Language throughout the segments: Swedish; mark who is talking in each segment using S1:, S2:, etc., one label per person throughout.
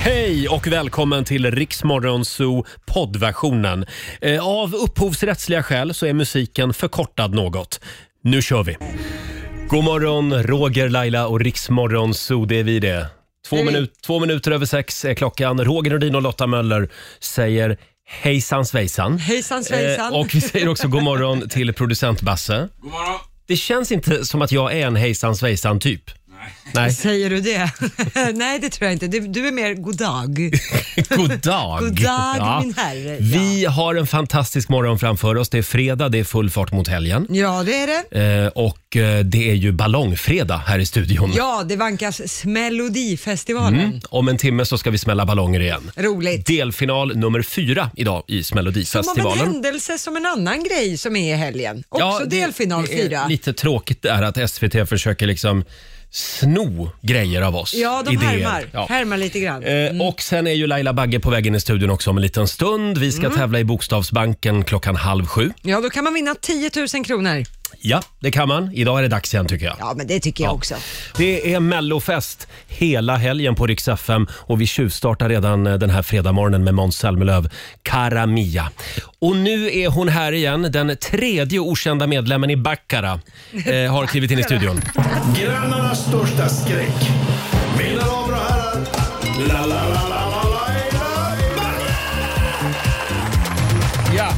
S1: Hej och välkommen till Riksmorgon Zoo poddversionen. Eh, Av upphovsrättsliga skäl så är musiken förkortad något. Nu kör vi! God morgon, Roger, Laila och Riksmorgon Zoo, det är vi det. Två, minut, två minuter över sex är klockan. Roger Nordin och Lotta Möller säger hejsan svejsan.
S2: Hejsan svejsan.
S1: Eh, och vi säger också god morgon till producent Basse. God morgon. Det känns inte som att jag är en hejsan svejsan typ. Nej.
S2: Säger du det? Nej, det tror jag inte. Du, du är mer god dag.
S1: God dag!
S2: God dag, min herre.
S1: Vi har en fantastisk morgon framför oss. Det är fredag, det är full fart mot helgen.
S2: Ja, det är det.
S1: Eh, och eh, det är ju ballongfredag här i studion.
S2: Ja, det vankas Smällodifestivalen.
S1: Mm. Om en timme så ska vi smälla ballonger igen.
S2: Roligt.
S1: Delfinal nummer fyra idag i
S2: Som av en
S1: Melodifestivalen.
S2: händelse som en annan grej som är i helgen. Också delfinal
S1: det är
S2: 4.
S1: Lite tråkigt är att SVT försöker liksom sno grejer av oss.
S2: Ja, de
S1: idéer.
S2: härmar.
S1: Ja.
S2: Härmar lite grann.
S1: Eh, Och sen är ju Laila Bagge på väg in i studion också om en liten stund. Vi ska tävla i Bokstavsbanken klockan halv sju.
S2: Ja, då kan man vinna 10 000 kronor.
S1: Ja, det kan man. Idag är det dags igen tycker jag.
S2: Ja, men det tycker jag också.
S1: Det är mellofest hela helgen på Rix FM och vi tjuvstartar redan eh, den här fredagmorgonen med Måns Zelmerlöw, Cara Mia. Och nu är hon här igen, den tredje okända medlemmen i Baccara eh, har klivit in i studion.
S3: Grannarnas största skräck. Mina damer och herrar. La, la, la, la, la, la, la,
S1: Ja.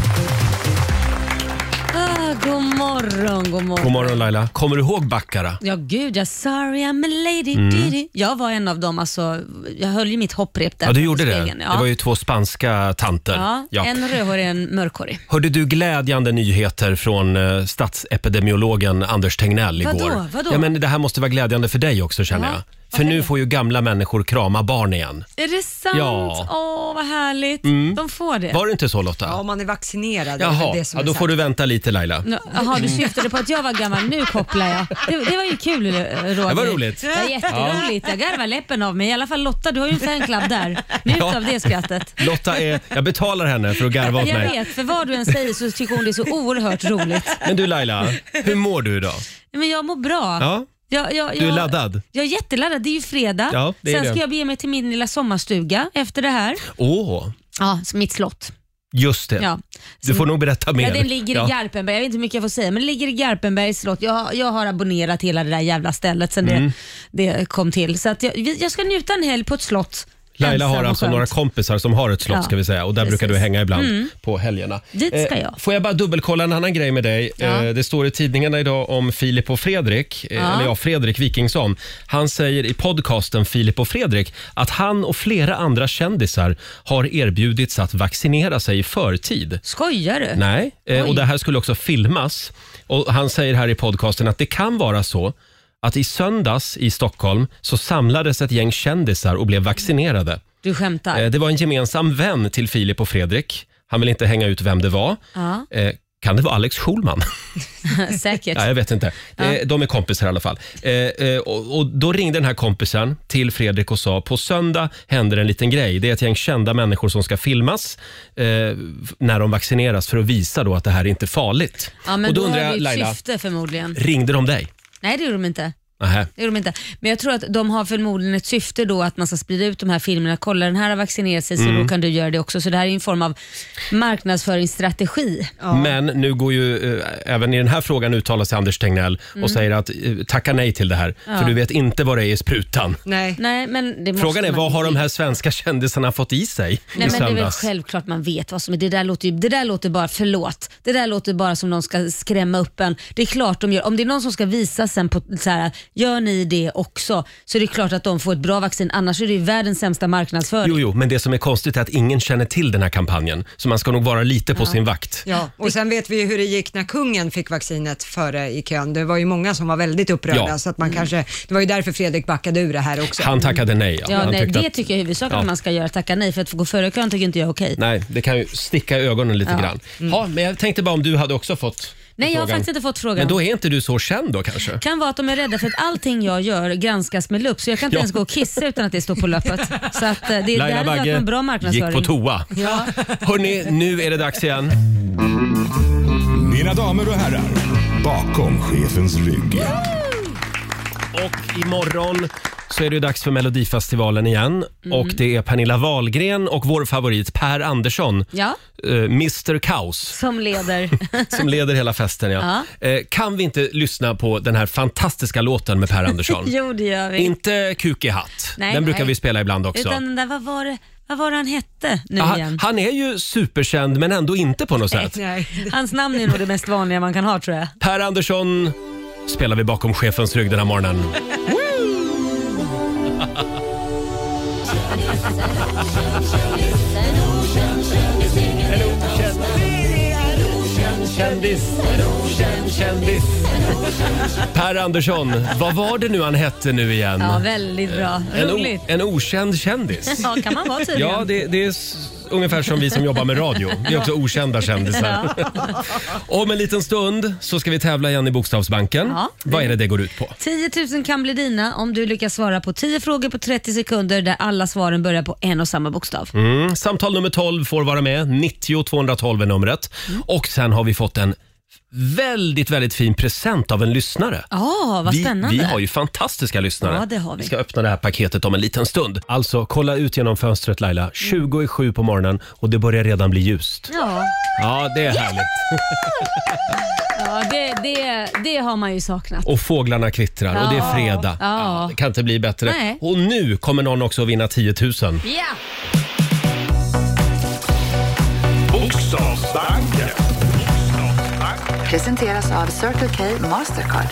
S4: Ah, god morgon, god morgon.
S1: God morgon Laila, kommer du ihåg Baccara?
S4: Ja, gud ja. Sorry I'm a lady.
S1: Mm.
S4: diddy. Jag var en av dem. Alltså, jag höll ju mitt hopprep där.
S1: Ja, du
S4: på
S1: gjorde det.
S4: spegeln. Ja.
S1: Det var ju två spanska tanter.
S4: ja,
S1: Ja.
S4: En rödhårig, en mörkhårig.
S1: Hörde du glädjande nyheter från eh, statsepidemiologen Anders Tegnell
S4: Vadå?
S1: igår?
S4: Vadå?
S1: Ja, men det här måste vara glädjande för dig också känner
S4: Ja.
S1: jag.
S4: Vad
S1: För nu
S4: händer?
S1: får ju gamla människor krama barn igen.
S4: Är det sant?
S1: Ja.
S4: Åh, vad härligt. De får det.
S1: Mm. Var det inte så Lotta?
S2: Ja, om man är vaccinerad. det är väl
S1: Jaha,
S2: det som
S1: ja,
S2: är
S1: då
S2: sant.
S1: får du vänta lite Laila.
S4: Nå, Jaha, du syftade på att jag var gammal. Nu kopplar jag. Det, det var ju kul eh, Roger.
S1: Det var roligt.
S4: Det var jätteroligt. Jag garvar läppen av mig. I alla fall Lotta, du har ju en fanclub där. Njut
S1: Ja.
S4: av det skrattet.
S1: Lotta är, jag betalar henne för att garva åt
S4: Jag
S1: mig.
S4: vet, för vad du än säger så tycker hon det är så oerhört roligt.
S1: Men du Laila, hur mår du idag?
S4: Men jag mår bra.
S1: Ja.
S4: Jag, jag,
S1: Du är
S4: jag-
S1: laddad?
S4: Jag är jätteladdad. Det är ju fredag.
S1: Ja, det är
S4: Sen
S1: det.
S4: ska jag bege mig till min lilla sommarstuga efter det här.
S1: Åh,
S4: Ja, så mitt slott.
S1: just det.
S4: Ja.
S1: Typ. Du får nog berätta mer.
S4: Ja, den ligger
S1: Ja.
S4: i Garpenberg. Jag vet inte hur mycket jag får säga, men den ligger i Garpenbergs slott. Jag, jag har abonnerat hela det där jävla stället sen
S1: Mm.
S4: det, det kom till. Så att jag, jag ska njuta en helg på ett slott.
S1: Laila
S4: Ensam
S1: har
S4: och
S1: alltså
S4: skönt.
S1: några kompisar som har ett slott
S4: Ja,
S1: ska vi säga och där
S4: precis. Mm.
S1: brukar du hänga ibland på helgerna. Eh,
S4: Dit ska jag.
S1: får jag bara dubbelkolla en annan grej med dig.
S4: Ja.
S1: Eh, det står i tidningarna idag om Filip och Fredrik, eh,
S4: Ja.
S1: eller ja, Fredrik Wikingsson. Han säger i podcasten Filip och Fredrik att han och flera andra kändisar har erbjudits att vaccinera sig i förtid.
S4: Skojar du?
S1: Nej, eh, och
S4: Oj.
S1: det här skulle också filmas. Och han säger här i podcasten att det kan vara så att i söndags i Stockholm så samlades ett gäng kändisar och blev vaccinerade.
S4: Du skämtar?
S1: Eh, Det var en gemensam vän till Filip och Fredrik. Han vill inte hänga ut vem det var.
S4: Ja,
S1: Eh, Kan det vara Alex Schulman?
S4: säkert.
S1: Ja, jag vet inte. Eh, De är kompisar i alla fall. Eh, eh, Och och Då ringde den här kompisen till Fredrik och sa på söndag händer en liten grej. Det är ett gäng kända människor som ska filmas eh, f- när de vaccineras för att visa då att det här är inte farligt.
S4: Ja, men
S1: och
S4: då,
S1: då, undrar
S4: har
S1: jag,
S4: du ett
S1: Laila,
S4: syfte förmodligen.
S1: ringde de dig?
S4: Nej, det gjorde de inte.
S1: Nähä.
S4: Det gjorde de inte. Men jag tror att de har förmodligen ett syfte då att man ska sprida ut de här filmerna. Kolla den här har vaccinerat sig så
S1: Mm.
S4: då kan du göra det också. Så det här är ju en form av marknadsföringsstrategi.
S1: Men nu går ju eh, även i den här frågan uttalar sig Anders Tegnell
S4: Mm.
S1: och säger att eh, tacka nej till det här, för du vet inte vad det är i sprutan.
S2: Nej.
S4: Nej, men det måste
S1: Frågan är
S4: man
S1: vad har de
S4: inte.
S1: här svenska kändisarna fått i sig
S4: Nej,
S1: i
S4: men det är väl
S1: söndags?
S4: självklart man vet vad som är. Det där låter, ju, det där låter bara, förlåt, det där låter bara som de ska skrämma upp en. Det är klart de gör. Om det är någon som ska visa sen på så här, gör ni det också så är det klart att de får ett bra vaccin. Annars är det ju världens sämsta marknadsföring.
S1: Jo, jo, men det som är konstigt är att ingen känner till den här kampanjen. Så man ska nog vara lite på sin vakt.
S2: Ja, och sen vet vi ju hur det gick när kungen fick vaccinet före i kön. Det var ju många som var väldigt upprörda,
S1: Ja.
S2: så att man kanske, det var ju därför Fredrik backade ur det här också.
S1: Han tackade nej.
S4: Mm. Ja,
S1: Han
S4: nej,
S1: tyckte
S4: det
S1: att-
S4: tycker jag huvudsakligen
S1: Ja.
S4: man ska göra, tacka nej. För att få gå före kön tycker inte jag är okej.
S1: nej, det kan ju sticka i ögonen lite
S4: Ja. Mm.
S1: grann. Ja, men jag tänkte bara om du hade också fått
S4: Nej, jag har
S1: frågan.
S4: faktiskt inte fått frågan.
S1: Men då är inte du så känd då kanske?
S4: kan vara att de är rädda för att allting jag gör granskas med lupp så jag kan inte
S1: Ja.
S4: ens gå och kissa utan att det står på löpet. Så att eh, det, det här hade varit en bra marknadsföring.
S1: gick på toa. Ja. Hörni, nu är det dags igen.
S3: la. Mina damer och herrar. Bakom chefens rygg.
S1: Och imorgon så är det ju dags för Melodifestivalen igen.
S4: Mm.
S1: Och det är Pernilla Wahlgren och vår favorit Per Andersson,
S4: Ja,
S1: eh, Mr Kaos,
S4: som leder.
S1: som leder hela festen. Ja. Eh, kan vi inte lyssna på den här fantastiska låten med Per Andersson?
S4: jo, det gör vi.
S1: Inte Kuk i hatt.
S4: Nej,
S1: den brukar
S4: nej.
S1: vi spela ibland också.
S4: Utan den där, vad var det, vad var det han hette nu
S1: Ah,
S4: igen?
S1: han, han är ju superkänd men ändå inte på något sätt.
S2: Nej.
S4: Hans namn är nog det mest vanliga man kan ha tror jag.
S1: Per Andersson spelar vi bakom chefens rygg den här morgonen. Per Andersson, vad var det nu han hette nu igen?
S4: Ja, väldigt bra.
S1: en, o-
S4: Roligt.
S1: en okänd kändis.
S4: Ja, kan man vara tydligen.
S1: Ja, det, det är s- ungefär som vi som jobbar med radio. Vi är också okända kändisar. Om en liten stund så ska vi tävla igen i Bokstavsbanken.
S4: Ja.
S1: Vad är det det går ut på?
S4: 10 000 kan bli dina om du lyckas svara på 10 frågor på 30 sekunder där alla svaren börjar på en och samma bokstav.
S1: Mm, samtal nummer 12 får vara med. 90 212 är numret.
S4: Mm.
S1: Och sen har vi fått en väldigt, väldigt fin present av en lyssnare.
S4: Ja, vad
S1: vi,
S4: spännande.
S1: vi har ju fantastiska lyssnare.
S4: Ja, det har vi.
S1: ska öppna det här paketet om en liten stund. Alltså, kolla ut genom fönstret Laila.
S4: Mm.
S1: 20 i sju på morgonen och det börjar redan bli ljust.
S4: Ja,
S1: Ja, det är härligt.
S4: ja det, det, det har man ju saknat.
S1: Och fåglarna kvittrar och det är
S4: Ja.
S1: fredag.
S4: Ja.
S1: Ja, det kan inte bli bättre.
S4: Nej.
S1: Och nu kommer någon också att vinna 10 000.
S4: Ja!
S3: Bokstavsbanken.
S5: Presenteras av Circle K Mastercard.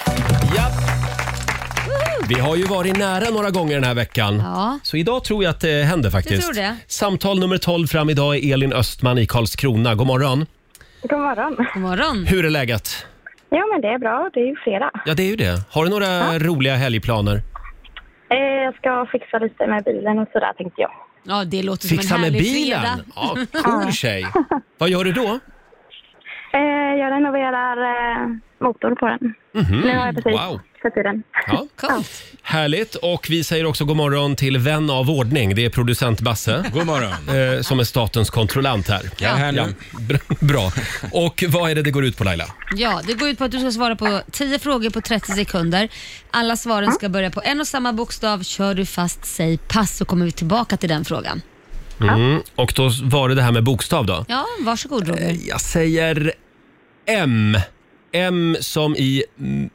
S1: Vi har ju varit nära några gånger den här veckan.
S4: Ja.
S1: Så idag tror jag att det händer faktiskt.
S4: tror det.
S1: Samtal nummer 12 fram idag är Elin Östman i Karlskrona. God morgon.
S6: God morgon.
S4: God morgon.
S1: Hur är läget?
S6: Ja, men det är bra. Det är ju fredag.
S1: Ja, det är ju det. Har du några roliga helgplaner?
S6: Eh, jag ska fixa lite med bilen och sådär tänkte jag.
S4: Ja, det låter som
S1: Fixa
S4: en
S1: med
S4: härlig
S1: bilen?
S4: fredag.
S1: Ja, cool tjej. Vad gör du då?
S6: Eh, jag renoverar eh, motorn på den. Nu har jag precis
S1: Mm. Mhm. Wow.
S6: satt i den.
S1: Ja.
S4: Coolt.
S1: Härligt. Och vi säger också god morgon till vän av ordning. Det är producent Basse.
S7: God morgon.
S1: eh, som är statens kontrollant här.
S7: Jag är här nu.
S1: Br- Bra. Och vad är det det går ut på Laila?
S4: Ja, det går ut på att du ska svara på 10 frågor på 30 sekunder. Alla svaren ska börja på en och samma bokstav. Kör du fast, säg pass så kommer vi tillbaka till den frågan.
S1: Mm. Och då var det det här med bokstav då?
S4: Ja, varsågod Roger.
S1: Jag säger M. M som i m-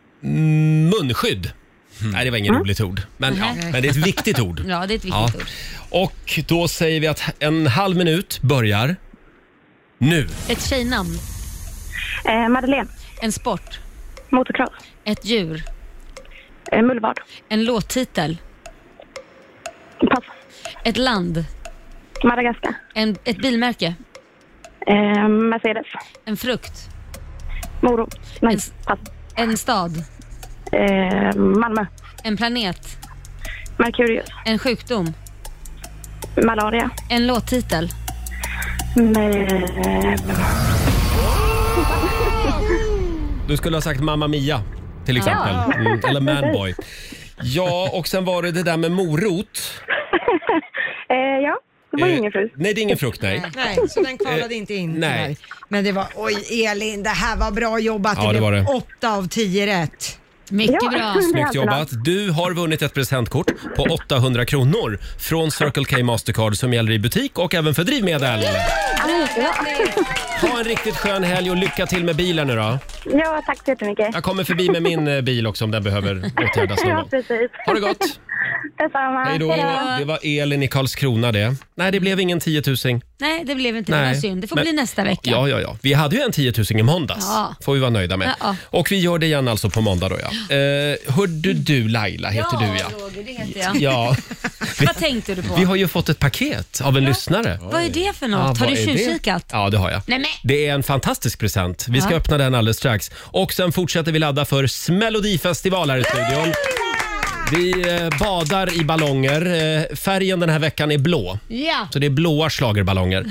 S1: munskydd. Nej, det var inget roligt ord. Men, ja, men det är ett viktigt ord.
S4: Ja, det är ett viktigt
S1: Mm. Ja.
S4: ord.
S1: Och då säger vi att en halv minut börjar nu.
S4: Ett tjejnamn,
S6: Eh, Madeleine,
S4: en sport,
S6: motocross,
S4: ett djur,
S6: eh, mullvad,
S4: en låttitel,
S6: pass,
S4: ett land,
S6: Madagaskar,
S4: en, ett bilmärke,
S6: eh, Mercedes,
S4: en frukt,
S6: morot, nej,
S4: Yes.
S6: pass,
S4: en stad,
S6: eh, Malmö,
S4: en planet,
S6: Merkurius,
S4: en sjukdom,
S6: malaria.
S4: en låttitel.
S6: Eh,
S1: Du skulle ha sagt Mamma Mia till exempel. Mm, eller Manboy. Ja, och sen var det det där med morot.
S6: eh, ja, det var ju
S1: Eh,
S6: ingen frus.
S1: Nej, det är ingen frukt, nej. Eh,
S2: Nej, så den kvalade inte in
S1: nej.
S2: tyvärr. Men det var, oj Elin, det här var bra jobbat.
S1: Ja, det var det.
S2: 8 av 10 rätt.
S4: Mycket
S6: Ja.
S4: bra.
S6: Mm.
S1: Snyggt
S6: Det är alltid
S1: jobbat. Du har vunnit ett presentkort på 800 kronor från Circle K Mastercard som gäller i butik och även för drivmedel. Ha en riktigt skön helg och lycka till med bilen nu då.
S6: Ja, tack så jättemycket.
S1: Jag kommer förbi med min eh, bil också om den behöver åtgärdas någon
S6: Ja,
S1: gång.
S6: precis.
S1: Ha det gott!
S6: Detsamma.
S1: Hej då! Det var Elin i Karlskrona det. Nej, det blev ingen 10 000.
S4: Nej, det blev inte det.
S1: Nej.
S4: var synd. Det får
S1: Men-
S4: bli nästa vecka.
S1: Ja, ja, ja. Vi hade ju en 10 000 i måndags.
S4: Ja.
S1: Får vi vara nöjda med.
S4: Ja,
S1: Och vi gör det igen alltså på måndag då ja. Eh, hörde du Laila heter du ja.
S4: Roger, det heter jag.
S1: Ja. Vi-
S4: Vad tänkte du på?
S1: Vi har ju fått ett paket av en lyssnare.
S4: Vad är det för något?
S1: Ja,
S4: har
S1: vad
S4: du
S1: är det?
S4: tjuvkikat?
S1: Ja, det har jag.
S4: Nej, men-
S1: Det är en fantastisk present. Vi ska
S4: Ja.
S1: öppna den alldeles strax. Och sen fortsätter vi ladda för Smelodifestival här i studion. Vi eh, badar i ballonger. Eh, Färgen den här veckan är blå.
S4: Ja.
S1: Så det är blåa schlagerballonger.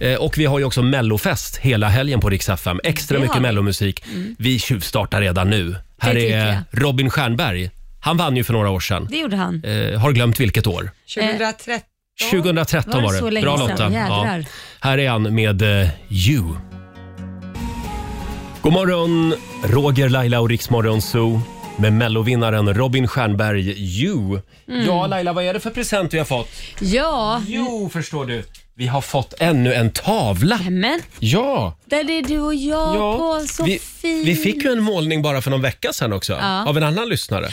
S1: Eh, Och vi har ju också mellofest hela helgen på Rix FM. Extra
S4: Det har
S1: mycket
S4: vi. Mm.
S1: mellomusik. Vi tjuvstartar redan nu. Här
S4: tycker
S1: är Robin Stjernberg. Han vann ju för några år sedan.
S4: Det gjorde han.
S1: Eh, har glömt vilket år.
S2: 2013.
S1: 2013 var
S4: Var
S1: det.
S4: det så länge
S1: Bra
S4: sedan?
S1: Lotta.
S4: Jädrar.
S1: Här är han med eh, You. God morgon, Roger, Laila och Riksmorgon Zoo. med mellovinnaren Robin Stjernberg, You.
S4: Mm.
S1: Ja, Laila, vad är det för present vi har fått?
S4: Ja,
S1: Jo, förstår du. Vi har fått ännu en tavla.
S4: men
S1: Ja!
S4: där är du och jag på. Så
S1: vi,
S4: fint.
S1: vi fick ju en målning bara för någon vecka sedan också, av en annan lyssnare.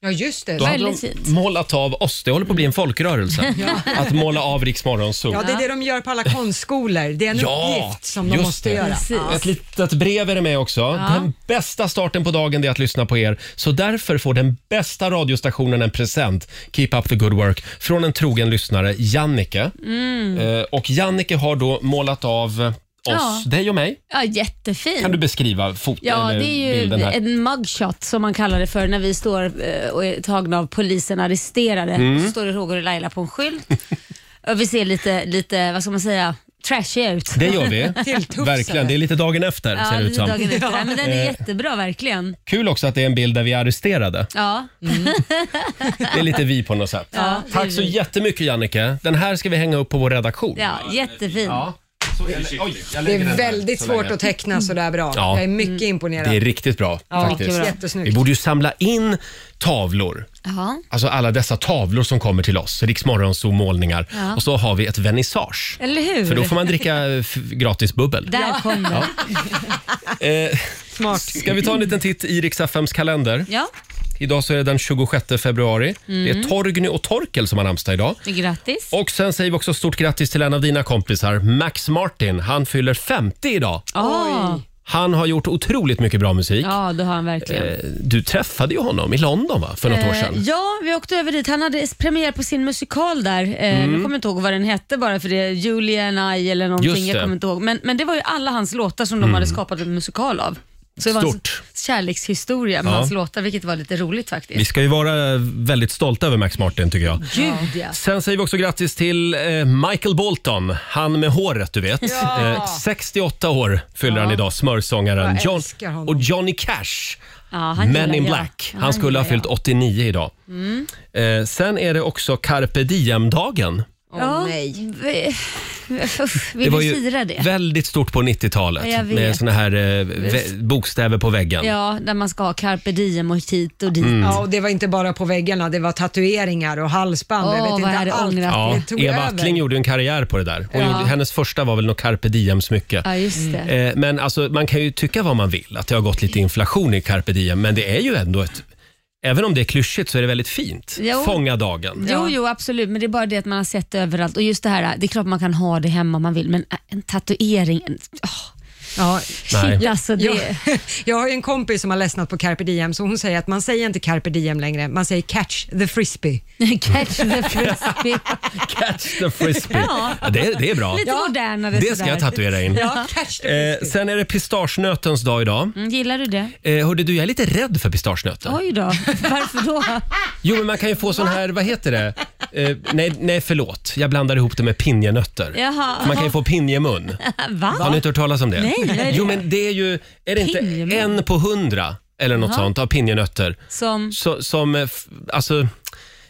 S2: Ja, just det.
S1: Då hade
S4: Väldigt
S1: de
S4: fint.
S1: målat av oss. Det håller på att bli en folkrörelse. Att måla av Rix Morgonzoo.
S2: Ja, det är det de gör på alla konstskolor. Det är en
S1: Ja,
S2: uppgift som de
S1: just
S2: måste
S1: det.
S2: göra.
S4: Precis.
S1: Ett litet brev är det med också. Den bästa starten på dagen det är att lyssna på er. Så därför får den bästa radiostationen en present, Keep Up The Good Work, från en trogen lyssnare, Jannike.
S4: Mm.
S1: Eh, och Jannike har då målat av oss,
S4: Ja.
S1: dig och mig.
S4: Ja, jättefint.
S1: Kan du beskriva fot-
S4: Ja,
S1: eller
S4: det är ju
S1: bilden här?
S4: en mugshot som man kallar det för när vi står eh, och är tagna av polisen arresterade.
S1: Mm.
S4: Så står det Roger och Laila på en skylt och vi ser lite, lite vad ska man säga, trashiga ut.
S1: Det gör vi.
S2: Tilltufsade.
S1: Verkligen. Det är lite dagen efter,
S4: Ja,
S1: ser det ut
S4: lite
S1: som.
S4: dagen efter. Men den är jättebra verkligen.
S1: Kul också att det är en bild där vi är arresterade.
S4: Ja,
S1: Det är lite vi på något sätt.
S4: Ja, det är
S1: Tack så
S4: vi.
S1: jättemycket Jannike. Den här ska vi hänga upp på vår redaktion.
S4: ja jättefin.
S1: Ja. Så, eller, oj, jag
S2: Det
S1: lägger den
S2: är
S1: här
S2: väldigt
S1: så
S2: svårt
S1: länge.
S2: att teckna sådär bra.
S1: Ja.
S2: Jag är
S4: Mm.
S2: mycket imponerad.
S1: Det är riktigt bra faktiskt.
S4: mycket bra.
S1: Vi
S2: Jättesnyggt.
S1: borde ju samla in tavlor.
S4: Ja.
S1: Alltså alla dessa tavlor som kommer till oss, Riksmorgonzoo målningar.
S4: Ja.
S1: Och så har vi ett vernissage.
S4: Eller hur?
S1: För då får man dricka f- gratis bubbel.
S4: Där kom den.
S1: Eh,
S2: Smart.
S1: ska vi ta en liten titt i Rix FMs kalender?
S4: Ja. Mm.
S1: Idag så är det den 26 februari. Det är Torgny och Torkel som har namnsdag idag.
S4: Grattis.
S1: Och sen säger vi också stort grattis till en av dina kompisar, Max Martin. Han fyller 50 idag.
S4: Ja,
S1: Han har gjort otroligt mycket bra musik.
S4: ja det har han verkligen.
S1: Eh, Du träffade ju honom i London va? för något år
S4: Eh,
S1: sedan.
S4: Ja, vi åkte över dit. Han hade premiär på sin musikal där. Eh,
S1: Mm.
S4: Nu kommer jag inte ihåg vad den hette bara för det. Julia and I eller någonting.
S1: Just det. Mm.
S4: Jag kommer inte ihåg. Men, men det var ju alla hans låtar som de hade skapat en musikal av. Så det var
S1: Stort.
S4: en kärlekshistoria med
S1: Ja.
S4: hans låtar, vilket var lite roligt faktiskt.
S1: Vi ska ju vara väldigt stolta över Max Martin tycker jag.
S4: Gud ja.
S1: Sen säger vi också grattis till eh, Michael Bolton, han med håret du vet. Eh, 68 år fyller han idag, smörsångaren.
S2: Jag älskar honom.
S1: och Johnny Cash,
S4: Ja, han
S1: Men
S4: gillar
S1: in
S4: jag.
S1: Black.
S4: Ja,
S1: Han
S4: han
S1: skulle ha
S4: gillar Mm.
S1: fyllt 89 idag. Eh, sen är det också carpe diem-dagen.
S2: Åh nej.
S4: Vi, uff, vill
S1: var
S4: vi
S1: ju
S4: fira det?
S1: väldigt stort på
S4: Ja,
S1: 90-talet
S4: jag
S1: med
S4: vet.
S1: såna här eh, vä- bokstäver på väggen.
S4: Ja, där man ska ha carpe diem och hit och dit.
S1: Mm.
S2: Ja, och det var inte bara på väggarna, det var tatueringar och halsband. jag
S4: Åh,
S2: vet
S4: vad
S2: inte
S4: jag hade
S2: allt.
S4: ångrat.
S1: Ja,
S2: Det tog
S1: Eva
S2: över.
S1: Attling gjorde en karriär på det där. Hon
S4: Ja.
S1: gjorde, hennes första var väl något carpe diem-smycke.
S4: Ja, just det.
S1: Eh, Men alltså, man kan ju tycka vad man vill, att det har gått lite inflation i carpe diem, men det är ju ändå ett... Även om det är klyschigt så är det väldigt fint.
S4: Jo.
S1: Fånga dagen.
S4: Jo, jo, absolut. Men det är bara det att man har sett det överallt. Och just det här, det är klart man kan ha det hemma om man vill, men en tatuering, en, åh,
S2: Ja.
S1: Nej.
S4: shit alltså. Det,
S2: Jag, jag har ju en kompis som har ledsnat på carpe diem, så hon säger att man säger inte carpe diem längre, man säger catch the frisbee.
S4: Catch the frisbee.
S1: Catch the frisbee.
S4: Ja.
S1: Ja, det, är- det är bra.
S4: Lite modernare
S1: Det ska
S4: sådär.
S1: jag tatuera in.
S2: Ja, catch the
S1: Eh,
S2: frisbee.
S1: sen är det pistagenötens dag idag.
S4: Mm, gillar du det?
S1: Eh, hörde du, jag är lite rädd för pistagenötter.
S4: Oj då, varför då?
S1: Jo, men man kan ju få sån här, vad heter det? Eh, nej, nej, förlåt. Jag blandar ihop det med pinjenötter.
S4: Jaha.
S1: Man kan ju få pinjemun.
S4: Va?
S1: Har ni inte hört talas om det?
S4: Nej, vad är det?
S1: Jo, men det är ju, är det inte
S4: Pinjemun?
S1: en på hundra eller något sånt av pinjenötter
S4: Som,
S1: så, som, eh, f- alltså,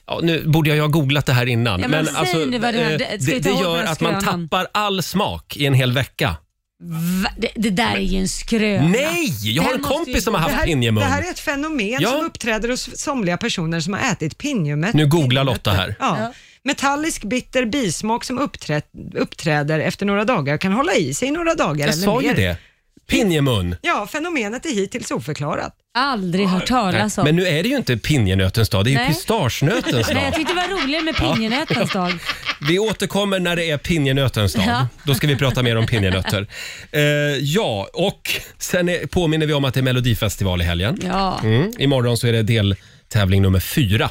S1: ja, nu borde jag ju ha googlat det här innan.
S4: Ja, men säg
S1: alltså,
S4: nu vad det här-
S1: eh,
S4: det- ska
S1: det,
S4: vi ta
S1: det
S4: ihåg
S1: gör
S4: några
S1: att man
S4: skrönan?
S1: tappar all smak i en hel vecka.
S4: va? Det, det där är ju en skröna.
S1: Nej! Jag
S4: Det
S1: har
S4: här
S1: en
S4: måste ju-
S1: kompis som har
S2: Det
S1: haft
S2: här, det
S1: pinjemun.
S2: här är ett fenomen
S1: Ja.
S2: som uppträder hos somliga personer som har ätit pinjumet.
S1: Nu googlar Lotta här.
S2: Ja. Metallisk bitter bismak som uppträ, uppträder efter några dagar och kan hålla i sig i några dagar
S1: Jag
S2: eller
S1: sa ju
S2: mer.
S1: det. Pinjemun.
S2: Ja, fenomenet är hittills oförklarat.
S4: Aldrig hört talas om.
S1: Men nu är det ju inte pinjenötens dag, det är ju
S4: Nej.
S1: pistagenötens
S4: Nej,
S1: dag.
S4: jag tyckte det var roligare med pinjenötens dag.
S1: Vi återkommer när det är pinjenötens dag.
S4: Ja.
S1: Då ska vi prata mer om pinjenötter. Eh, ja, och sen är, påminner vi om att det är Melodifestival i helgen.
S4: Ja,
S1: Mm. Imorgon så är det deltävling nummer fyra.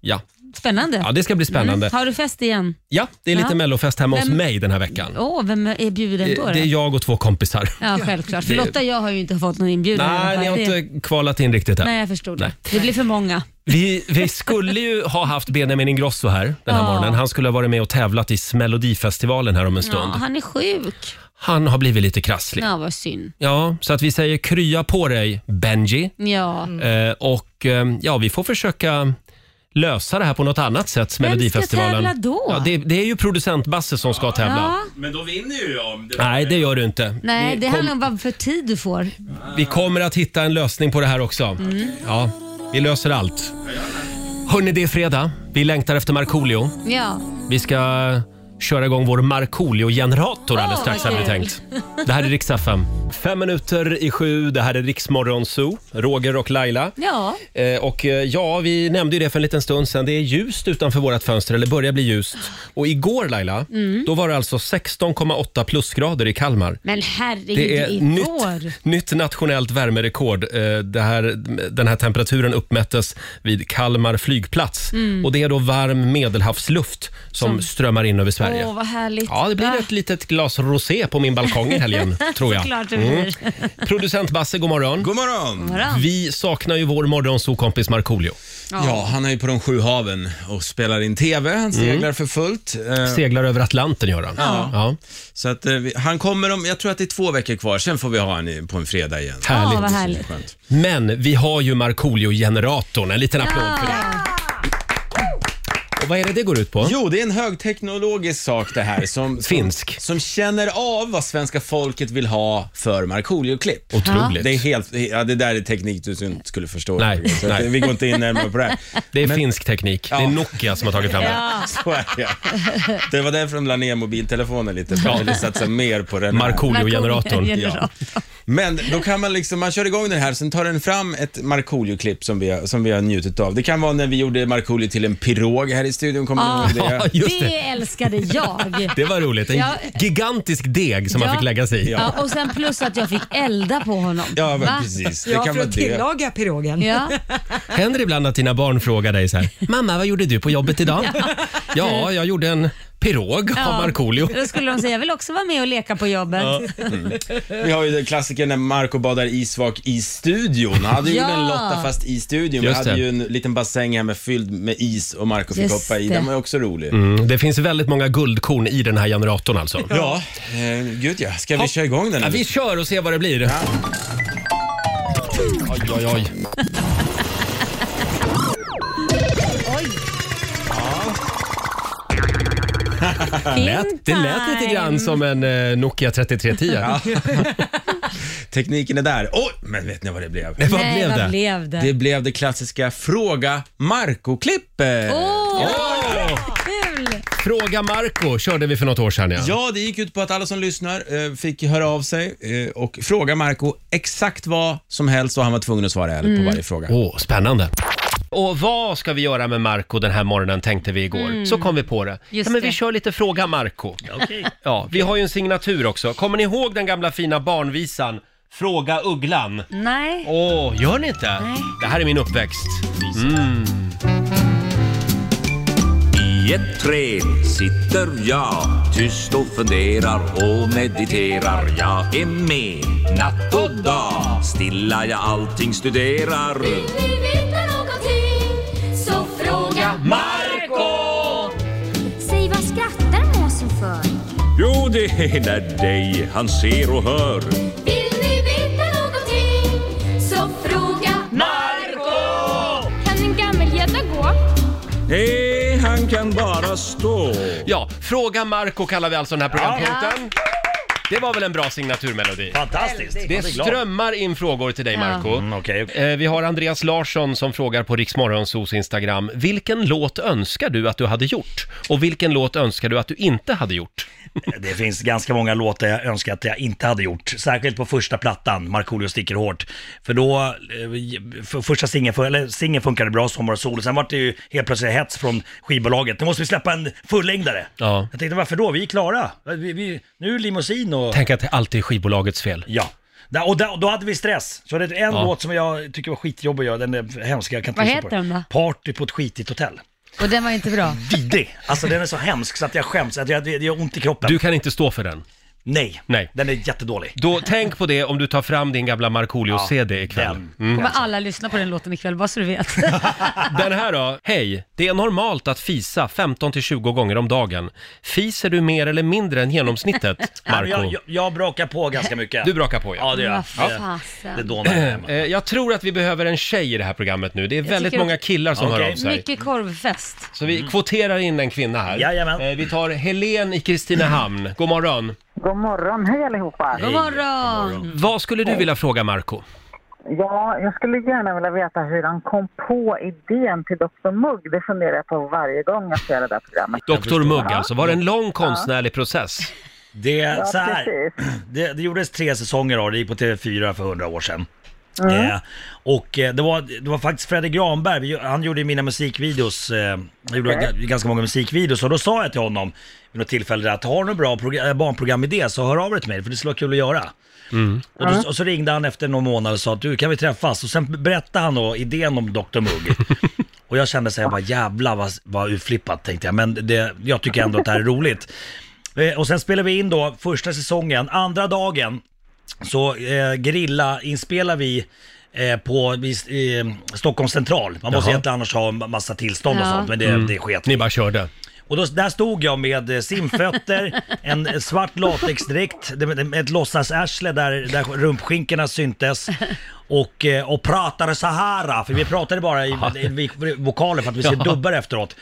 S1: Ja.
S4: Mm, spännande.
S1: ja, det ska bli spännande.
S4: Mm. Har du fest igen?
S1: Ja, det är lite
S4: Ja.
S1: mellofest hemma hos
S4: Vem-
S1: mig den här veckan.
S4: Åh, vem är bjuden då?
S1: Eh,
S4: då?
S1: Det är jag och två kompisar.
S4: Ja, självklart. För
S1: Det-
S4: Lotta och jag har ju inte fått någon inbjudan. i alla
S1: Nej,
S4: fall.
S1: ni har
S4: Det-
S1: inte kvalat in riktigt än.
S4: Nej, jag förstod det. Det blir för många.
S1: Vi, vi skulle ju ha haft Benjamin Ingrosso här den här
S4: Ja.
S1: morgonen. Han skulle ha varit med och tävlat i Melodifestivalen här om en
S4: Ja,
S1: stund.
S4: han är sjuk.
S1: Han har blivit lite krasslig.
S4: Ja, vad synd.
S1: Ja, så att vi säger krya på dig Benji.
S4: Ja.
S1: Eh, och eh, ja, vi får försöka lösa det här på något annat sätt,
S4: Vem
S1: Melodifestivalen.
S4: ska tävla då?
S1: Ja, det, det är ju producent Basse som ska tävla.
S4: Ja.
S7: Men då vinner ju jag. om Det
S1: Nej, det gör du inte.
S4: Nej,
S1: vi,
S4: det
S1: kom-
S4: handlar om vad för tid du får. Mm.
S1: vi kommer att hitta en lösning på det här också. Ja. Vi löser allt. Hörni, det är fredag. Vi längtar efter Markoolio.
S4: Ja.
S1: Vi ska köra igång vår Markoolio-generator alldeles
S4: Åh,
S1: strax
S4: vad
S1: hade vi
S4: kul.
S1: tänkt. Det här är riks FM. Fem minuter i sju, det här är Riksmorgon Zoo. Roger och Laila.
S4: Ja.
S1: Eh, Och eh, ja, vi nämnde ju det för en liten stund sedan. Det är ljust utanför vårt fönster, eller börjar bli ljust. Och igår Laila,
S4: Mm.
S1: då var det alltså 16,8 plusgrader i Kalmar.
S4: Men herregud,
S1: Det är
S4: igår.
S1: nytt, nytt nationellt värmerekord. Eh, Det här, den här temperaturen uppmättes vid Kalmar flygplats.
S4: Mm.
S1: Och Det är då varm medelhavsluft som,
S4: Som-
S1: strömmar in över Sverige.
S4: Åh, vad härligt.
S1: Ja, det blir ett litet glas rosé på min balkong i helgen, tror jag.
S4: Såklart det
S1: Mm.
S4: blir.
S1: Producent Basse, god morgon. God morgon.
S4: God morgon.
S1: Vi saknar ju vår morgonsokompis Markoolio.
S4: Ja.
S7: Ja, han är ju på de sju haven och spelar in TV. Han seglar för fullt. Eh,
S1: Mm. Seglar över Atlanten gör han.
S7: Ja.
S1: Ja.
S7: Så att, eh, vi- han kommer om, jag tror att det är två veckor kvar, sen får vi ha honom på en fredag igen.
S1: Härligt. Ja, vad härligt. Men vi har ju Markoolio-generatorn. En liten applåd för det. Och vad är det det går ut på?
S7: Jo, det är en högteknologisk sak det här som, som,
S1: Finsk.
S7: som känner av vad svenska folket vill ha för Markoolio-klipp.
S1: Otroligt.
S7: Det, är helt, ja, det där är teknik du inte skulle förstå.
S1: Nej,
S7: Så att,
S1: nej.
S7: Vi går inte in närmare på det här.
S1: Det är
S7: Men-
S1: finsk teknik. Det är Nokia som har tagit fram det.
S4: Ja.
S7: Så är det. Det var därför de la ner mobiltelefonen lite, för de ville satsa mer på den. här.
S1: Markoolio-generatorn.
S7: Ja. Men då kan man liksom, man kör igång den här, sen tar den fram ett Markoolio-klipp som vi, har- som vi har njutit av. Det kan vara när vi gjorde Markoolio till en pirog här i studion, kommer
S4: Ja,
S7: ni ihåg det?
S1: just
S4: Ah. det älskade jag.
S1: Det var roligt. En
S4: Ja.
S1: gigantisk deg som man
S4: Ja.
S1: fick lägga sig i.
S4: Ja. och sen plus att jag fick elda på honom.
S1: Ja, men
S4: Va?
S1: precis. Det
S2: Ja,
S1: kan
S2: för
S1: vara
S2: att
S1: det.
S2: tillaga pirogen.
S4: Ja.
S1: Händer det ibland att dina barn frågar dig så här, mamma vad gjorde du på jobbet idag? ja, jag gjorde en pirog av Markoolio.
S4: Då skulle de säga, jag vill också vara med och leka på jobbet.
S1: Ja.
S7: Vi har ju den klassikern när Marco badar isvak i studion. Han hade ju
S4: Ja.
S7: en Lotta fast i studion. Vi
S1: Just
S7: hade
S1: det.
S7: ju en liten bassäng här med fylld med is och Marco fick
S1: Just
S7: hoppa i.
S1: det.
S7: Den var ju också rolig.
S1: Mm, det finns väldigt många guldkorn i den här generatorn alltså.
S7: Ja, eh, gud ja. Ska vi
S1: Hopp.
S7: köra igång den?
S1: Ja, vi kör och ser vad det blir. Oj, oj, oj.
S4: Oj.
S1: Lät, det lät lite grann som en eh, Nokia 3310.
S7: Ja. Tekniken är där. Oj, men vet ni vad det blev?
S1: Nej, vad Nej, blev vad det?
S4: blev det?
S7: Det blev det klassiska Fråga Marco-klippet.
S4: Åh,
S1: Eh. Åh!
S4: kul!
S1: Fråga Marco körde vi för något år sedan. Ja.
S7: Ja, det gick ut på att alla som lyssnar eh, fick höra av sig eh, och fråga Marco exakt vad som helst och han var tvungen att svara ärligt
S1: Mm.
S7: på varje fråga.
S1: Åh, spännande. Och vad ska vi göra med Marco den här morgonen tänkte vi igår.
S7: Mm.
S1: Så kom vi på det.
S7: Just
S1: ja, men
S7: det.
S1: vi kör lite Fråga Marco. Ja, vi har ju en signatur också. Kommer ni ihåg den gamla fina barnvisan Fråga Ugglan?
S4: Nej.
S1: Åh, gör ni inte?
S4: Nej.
S1: Det här är min uppväxt. Mm.
S8: I ett träd sitter jag tyst och funderar och mediterar. Jag är med natt och dag, stilla jag allting studerar.
S9: Vill ni veta någonting så fråga Marco Säg vad skrattar måsen för?
S8: Jo, det är när dig han ser och hör.
S9: Vill ni veta någonting så fråga Marco Kan en gammelgädda gå?
S8: Nej, han kan bara stå.
S1: Ja, Fråga Marco kallar vi alltså den här programpunkten. Det var väl en bra signaturmelodi?
S10: Fantastiskt!
S1: Det strömmar in frågor till dig
S10: Ja.
S1: Marco.
S10: Mm, okej.
S1: Eh, Vi har Andreas Larsson som frågar på Riksmorgonsos Instagram. Vilken låt önskar du att du hade gjort? Och vilken låt önskar du att du inte hade gjort?
S10: Det finns ganska många låtar jag önskar att jag inte hade gjort. Särskilt på första plattan, Markoolio sticker hårt. För då, eh, för första singeln, för, eller singeln funkade bra, Sommar och sol. Sen var det ju helt plötsligt hets från skivbolaget. Nu måste vi släppa en fullängdare.
S1: Ja.
S10: Jag tänkte varför då? Vi är klara. Vi, vi, nu är limousin och...
S1: Tänk att det alltid är skivbolagets fel.
S10: Ja. Där- Och där- och då hade vi stress. Så det är en
S1: Ja.
S10: låt som jag tycker var skitjobbig att göra, den är hemsk. Jag kan inte
S4: Vad
S10: lyssna på
S4: heter den då?
S10: Party på ett skitigt hotell.
S4: Och den var inte bra.
S1: Mm.
S10: Vidrig! Alltså den är så hemsk så att jag skäms, att jag, det det gör ont i kroppen.
S1: Du kan inte stå för den.
S10: Nej,
S1: Nej.
S10: den är jättedålig.
S1: Då, tänk på det om du tar fram din gamla Markoolio-CD ikväll. Mm.
S4: Kommer alla lyssna på den låten ikväll, bara så du vet.
S1: Den här då? Hej! Det är normalt att fisa 15-20 gånger om dagen. Fiser du mer eller mindre än genomsnittet,
S10: Nej, men
S1: Marco?
S10: Jag, jag, jag brakar på ganska mycket.
S1: Du brakar på, ja.
S10: Ja, det gör jag.
S4: Vad
S10: Ja.
S4: fasen.
S10: Det dånar här hemma.
S1: Eh, Jag tror att vi behöver en tjej i det här programmet nu. Det är
S4: Jag
S1: väldigt
S4: tycker-
S1: många killar som hör av sig.
S4: Mycket korvfest.
S1: Så vi kvoterar in en kvinna här.
S10: Mm. Jajamän.
S1: Eh, Vi tar Helen i Kristinehamn. God morgon.
S11: God morgon, hej allihopa!
S4: God morgon!
S1: Vad skulle du vilja fråga Marco?
S11: Ja, jag skulle gärna vilja veta hur han kom på idén till Dr Mugg. Det funderar jag på varje gång jag ser det där programmet.
S1: Dr Mugg alltså, var det en lång konstnärlig process?
S10: Det,
S11: Ja,
S10: så här,
S11: precis.
S10: det, det gjordes tre säsonger av det, det gick på TV4 för hundra år sedan.
S11: Mm.
S10: Eh, och eh, det var, det var faktiskt Fredrik Granberg, vi- han gjorde ju mina musikvideos, eh, jag gjorde
S11: Okej.
S10: g- ganska många musikvideos och då sa jag till honom vid något tillfälle att har du någon bra progr- äh, barnprogramidé så hör av dig till mig för det skulle vara kul att göra. Och, då, och så ringde han efter någon månad och sa att du kan vi träffas? Och sen berättade han då idén om Dr Mugg. och jag kände så här, bara jävlar vad, vad utflippat tänkte jag, men det, jag tycker ändå att det här är roligt. Eh, Och sen spelade vi in då första säsongen, andra dagen så eh, grilla inspelar vi eh, på vis- i Stockholms central. Man måste
S1: Jaha.
S10: egentligen annars ha en massa tillstånd och
S1: Ja.
S10: sånt, men det,
S1: Mm.
S10: det sket
S1: Ni bara körde.
S10: och då, där stod jag med eh, simfötter, en svart latexdräkt, det- det- med ett låtsasarsle där, där rumpskinkorna syntes. Och, eh, och pratade så här, för vi pratade bara i, i, i vokaler för att vi skulle
S1: Ja.
S10: dubba det efteråt.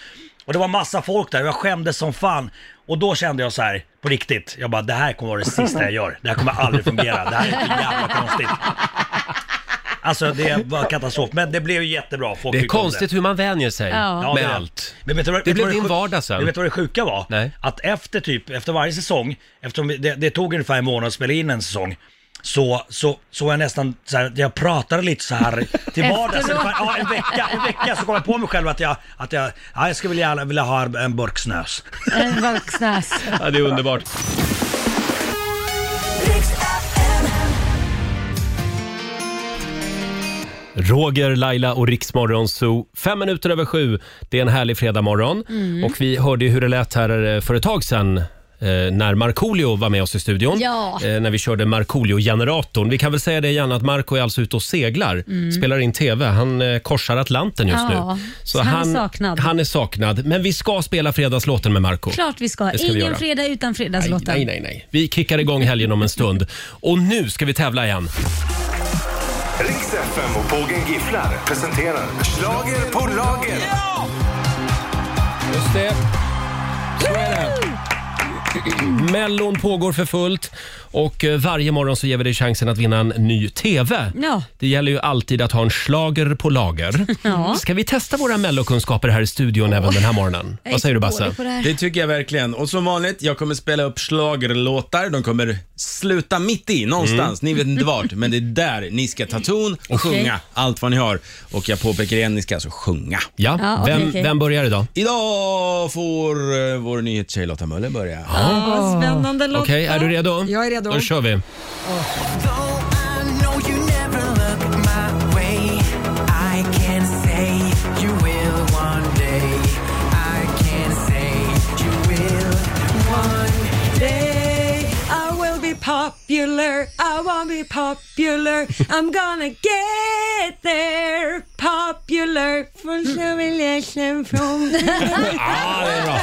S10: Och det var massa folk där och jag skämdes som fan. Och då kände jag så här, på riktigt, jag bara det här kommer vara det sista jag gör. Det här kommer aldrig fungera, det här är så jävla konstigt. Alltså det var katastrof, men det blev ju jättebra. Folk
S1: Det är
S10: tyckte om
S1: konstigt hur man vänjer sig
S10: Ja,
S1: med
S10: det är det.
S1: allt.
S10: Men vet du, vad-
S1: Det
S10: vet du
S1: blev
S10: vad
S1: din
S10: sjuk-
S1: vardag sen.
S10: Men Vet du vad det sjuka var?
S1: Nej.
S10: Att efter, typ, efter varje säsong, eftersom det, det tog ungefär en månad att spela in en säsong, så, så, så var jag nästan så här, jag pratade lite så här till vardags.
S12: Efteråt.
S10: Ungefär, ja, en vecka, en vecka så kom jag på mig själv att jag, att jag, ja, jag skulle vilja, vilja ha en burk snös.
S4: En vuxnas.
S1: Ja, det är underbart. Roger, Laila och Riksmorgon Zoo. Fem minuter över sju. Det är en härlig fredagmorgon.
S4: Mm.
S1: Och vi hörde ju hur det lät här eh, för ett tag sedan eh, när Markoolio var med oss i studion.
S4: Ja.
S1: Eh, när vi körde Markoolio-generatorn. Vi kan väl säga det igen att Marco är alltså ute och seglar.
S4: Mm.
S1: Spelar in TV. Han eh, korsar Atlanten just
S4: Ja,
S1: nu.
S4: så han är saknad.
S1: Han är saknad. Men vi ska spela fredagslåten med Marco.
S4: Klart vi ska.
S1: Det ska vi
S4: Ingen
S1: göra.
S4: fredag utan fredagslåten.
S1: Nej, nej, nej. Vi kickar igång helgen om en stund. Och nu ska vi tävla igen.
S3: Riks FM och Pågen Gifflar presenterar Schlager på lager.
S1: Just det. Så är det. Mellon pågår för fullt och eh, varje morgon så ger vi dig chansen att vinna en ny TV.
S4: Ja.
S1: Det gäller ju alltid att ha en slager på lager.
S4: Ja.
S1: Ska vi testa våra mellokunskaper här i studion även den här morgonen?
S4: Jag är
S1: Vad säger du
S4: så
S1: Basse?
S4: dålig på det här.
S7: Det tycker jag verkligen. Och som vanligt, jag kommer spela upp schlagerlåtar. De kommer sluta mitt i någonstans.
S1: Mm.
S7: Ni vet inte vart, men det är där ni ska ta ton och
S4: Okej.
S7: sjunga allt vad ni har. Och jag påpekar igen, ni ska alltså sjunga.
S1: Ja,
S4: Ja, okej, vem- okej. vem
S1: börjar idag?
S7: Idag får eh, vår nyhetstjej Lotta Möller börja.
S2: Vad spännande Lotta.
S1: Okej, är du redo?
S2: Jag är redo.
S1: Då kör vi.
S2: Day I will be popular, I won't be popular I'm gonna get there Popular Från civilisation från...
S1: Ja, det är bra.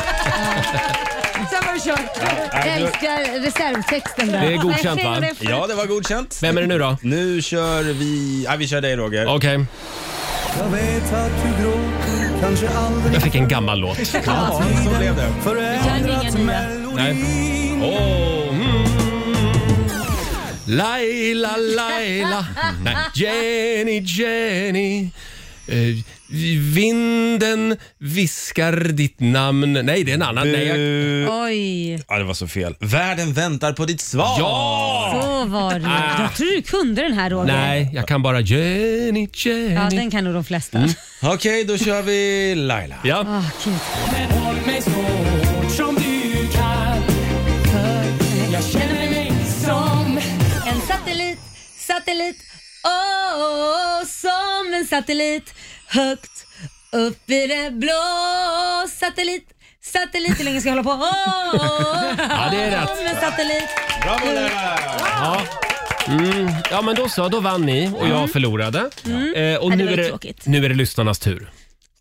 S2: Sen var det kört.
S4: Jag älskar reservtexten där.
S7: Det är
S4: Jag
S7: godkänt
S4: säger
S7: va?
S4: det för-
S7: Ja, det var godkänt.
S1: Vem är det nu då?
S7: Nu kör vi... Ja, vi kör dig Roger.
S1: Okej.
S3: Jag vet att du gråter, kanske aldrig...
S1: Jag fick en gammal låt.
S7: Ja, så blev det.
S3: Förändrat melodin.
S1: Nej. Åh, mm. Laila, Laila. Nej. Jenny, Jenny. Eh, vinden viskar ditt namn. Nej, det är en annan. Nej, jag...
S4: Oj,
S7: Ja, det var så fel. Världen väntar på ditt svar.
S4: så var det. Jag tror du kunde den här Roger.
S1: Ah. Nej, jag kan bara Jenny, Jenny.
S4: Ja, den kan nog de flesta. Mm.
S7: Okej, då kör vi Laila.
S1: Ja.
S4: Ah.
S12: Men håll mig så hårt som du kan För jag känner mig som
S4: En satellit, satellit, oh, oh, oh, som en satellit. Högt upp i det blå. Satellit, satellit, hur länge ska jag hålla på? Oh, oh, oh,
S1: Ja, det är rätt.
S4: Som en satellit.
S7: Bravo Laila!
S1: Ja. Mm. ja, men då så. Då vann ni och jag
S4: Mm.
S1: förlorade.
S4: Mm.
S1: Eh, och
S4: Ja, det
S1: nu
S4: var
S1: är,
S4: ju
S1: det,
S4: tråkigt.
S1: nu är det lyssnarnas tur.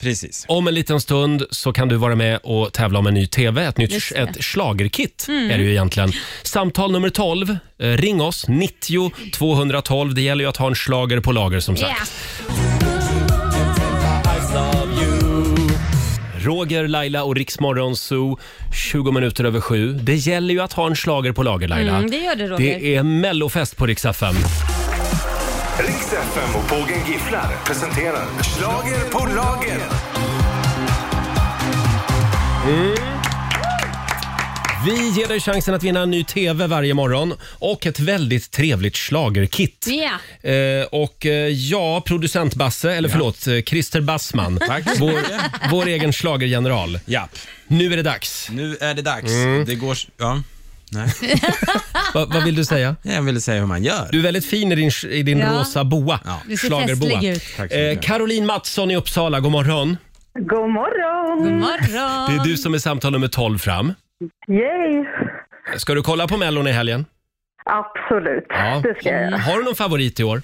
S7: Precis.
S1: Om en liten stund så kan du vara med och tävla om en ny TV, ett nytt
S4: Just det.
S1: ett schlagerkit
S4: Mm.
S1: är det ju egentligen. Samtal nummer 12, eh, ring oss, 90 212. Det gäller ju att ha en slager på lager som sagt. Roger, Laila och Riksmorgon Zoo, 20 minuter över sju. Det gäller ju att ha en slager på lager Laila.
S4: Mm, det gör det, Roger.
S1: Det är mellofest på Rix FM.
S3: Rix FM och Pågen Gifflar presenterar Schlager på lager.
S1: Mm. Vi ger dig chansen att vinna en ny TV varje morgon och ett väldigt trevligt schlagerkit.
S4: Ja.
S1: Eh, och eh, ja, producent Basse, eller förlåt, eh, Christer Bassman,
S7: Tack.
S1: vår, vår egen schlagergeneral.
S7: Ja.
S1: Nu är det dags.
S7: Nu är det dags.
S1: Mm.
S7: Det går... Ja. Nej.
S1: Va, vad vill du säga?
S7: Jag ville säga hur man gör.
S1: Du är väldigt fin i din, i din
S7: Ja.
S1: rosa boa.
S7: Du ser
S1: Schlagerboa.
S7: festlig ut. Tack så
S1: Eh,
S7: mycket.
S1: Caroline Mattsson i Uppsala, god morgon.
S11: God morgon! God
S4: morgon!
S1: Det är du som är samtal nummer 12 fram.
S11: Yay!
S1: Ska du kolla på Mellon i helgen?
S11: Absolut, det ska jag göra.
S1: Har du någon favorit i år?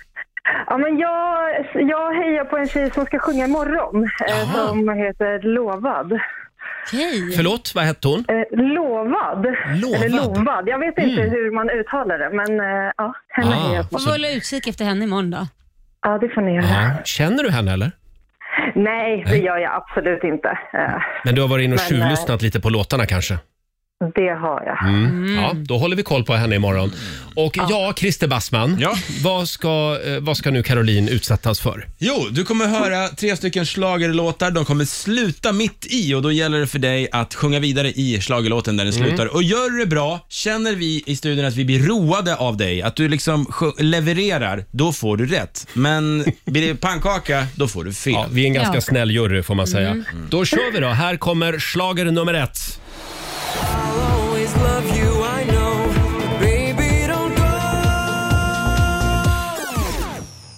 S11: Ja, men jag, jag hejar på en tjej som ska sjunga imorgon, eh, som heter Lovad.
S4: Hej.
S1: Förlåt, vad hette hon?
S11: Eh, lovad.
S1: Lovad?
S11: Eller lovad. Jag vet inte
S1: Mm.
S11: hur man uttalar det, men eh, ja, henne
S1: Ah,
S11: hejar jag på.
S4: Får vi hålla utkik efter henne imorgon då?
S11: Ja, det får ni göra.
S1: Ja. Känner du henne eller?
S11: Nej, det gör jag absolut inte. Eh,
S1: Men du har varit inne och
S11: Men,
S1: tjuvlyssnat lite på låtarna kanske?
S11: det har jag.
S1: Mm. Ja, då håller vi koll på henne imorgon. Och ja, Christer Bassman, vad, ska, eh, vad ska nu Caroline utsättas för?
S7: Jo, du kommer höra tre stycken schlagerlåtar. De kommer sluta mitt i och då gäller det för dig att sjunga vidare i schlagerlåten där den
S1: Mm.
S7: slutar. Och gör du det bra, känner vi i studion att vi blir roade av dig, att du liksom sjö- levererar, då får du rätt. Men blir det pannkaka, då får du fel.
S1: vi är en ganska Ja. snäll jury får man säga.
S7: Mm.
S1: Då kör vi då. Här kommer schlager nummer ett.
S12: always love you, I know. Baby, don't go.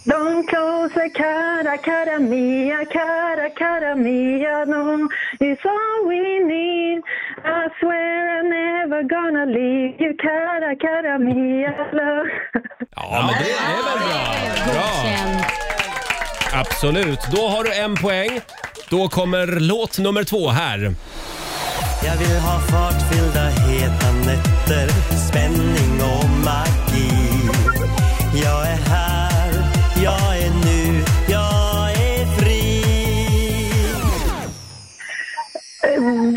S11: Don't close the cara, cara mia, cara, cara mia, no. It's all we need. I swear I'm never gonna leave you, cara, cara mia, love.
S1: Ja, men det är väl bra. bra. Absolut. Då har du en poäng. Då kommer låt nummer två här.
S13: Jag vill ha fartfyllda heta nätter, spänning och magi. Jag är här, jag är nu, jag är fri.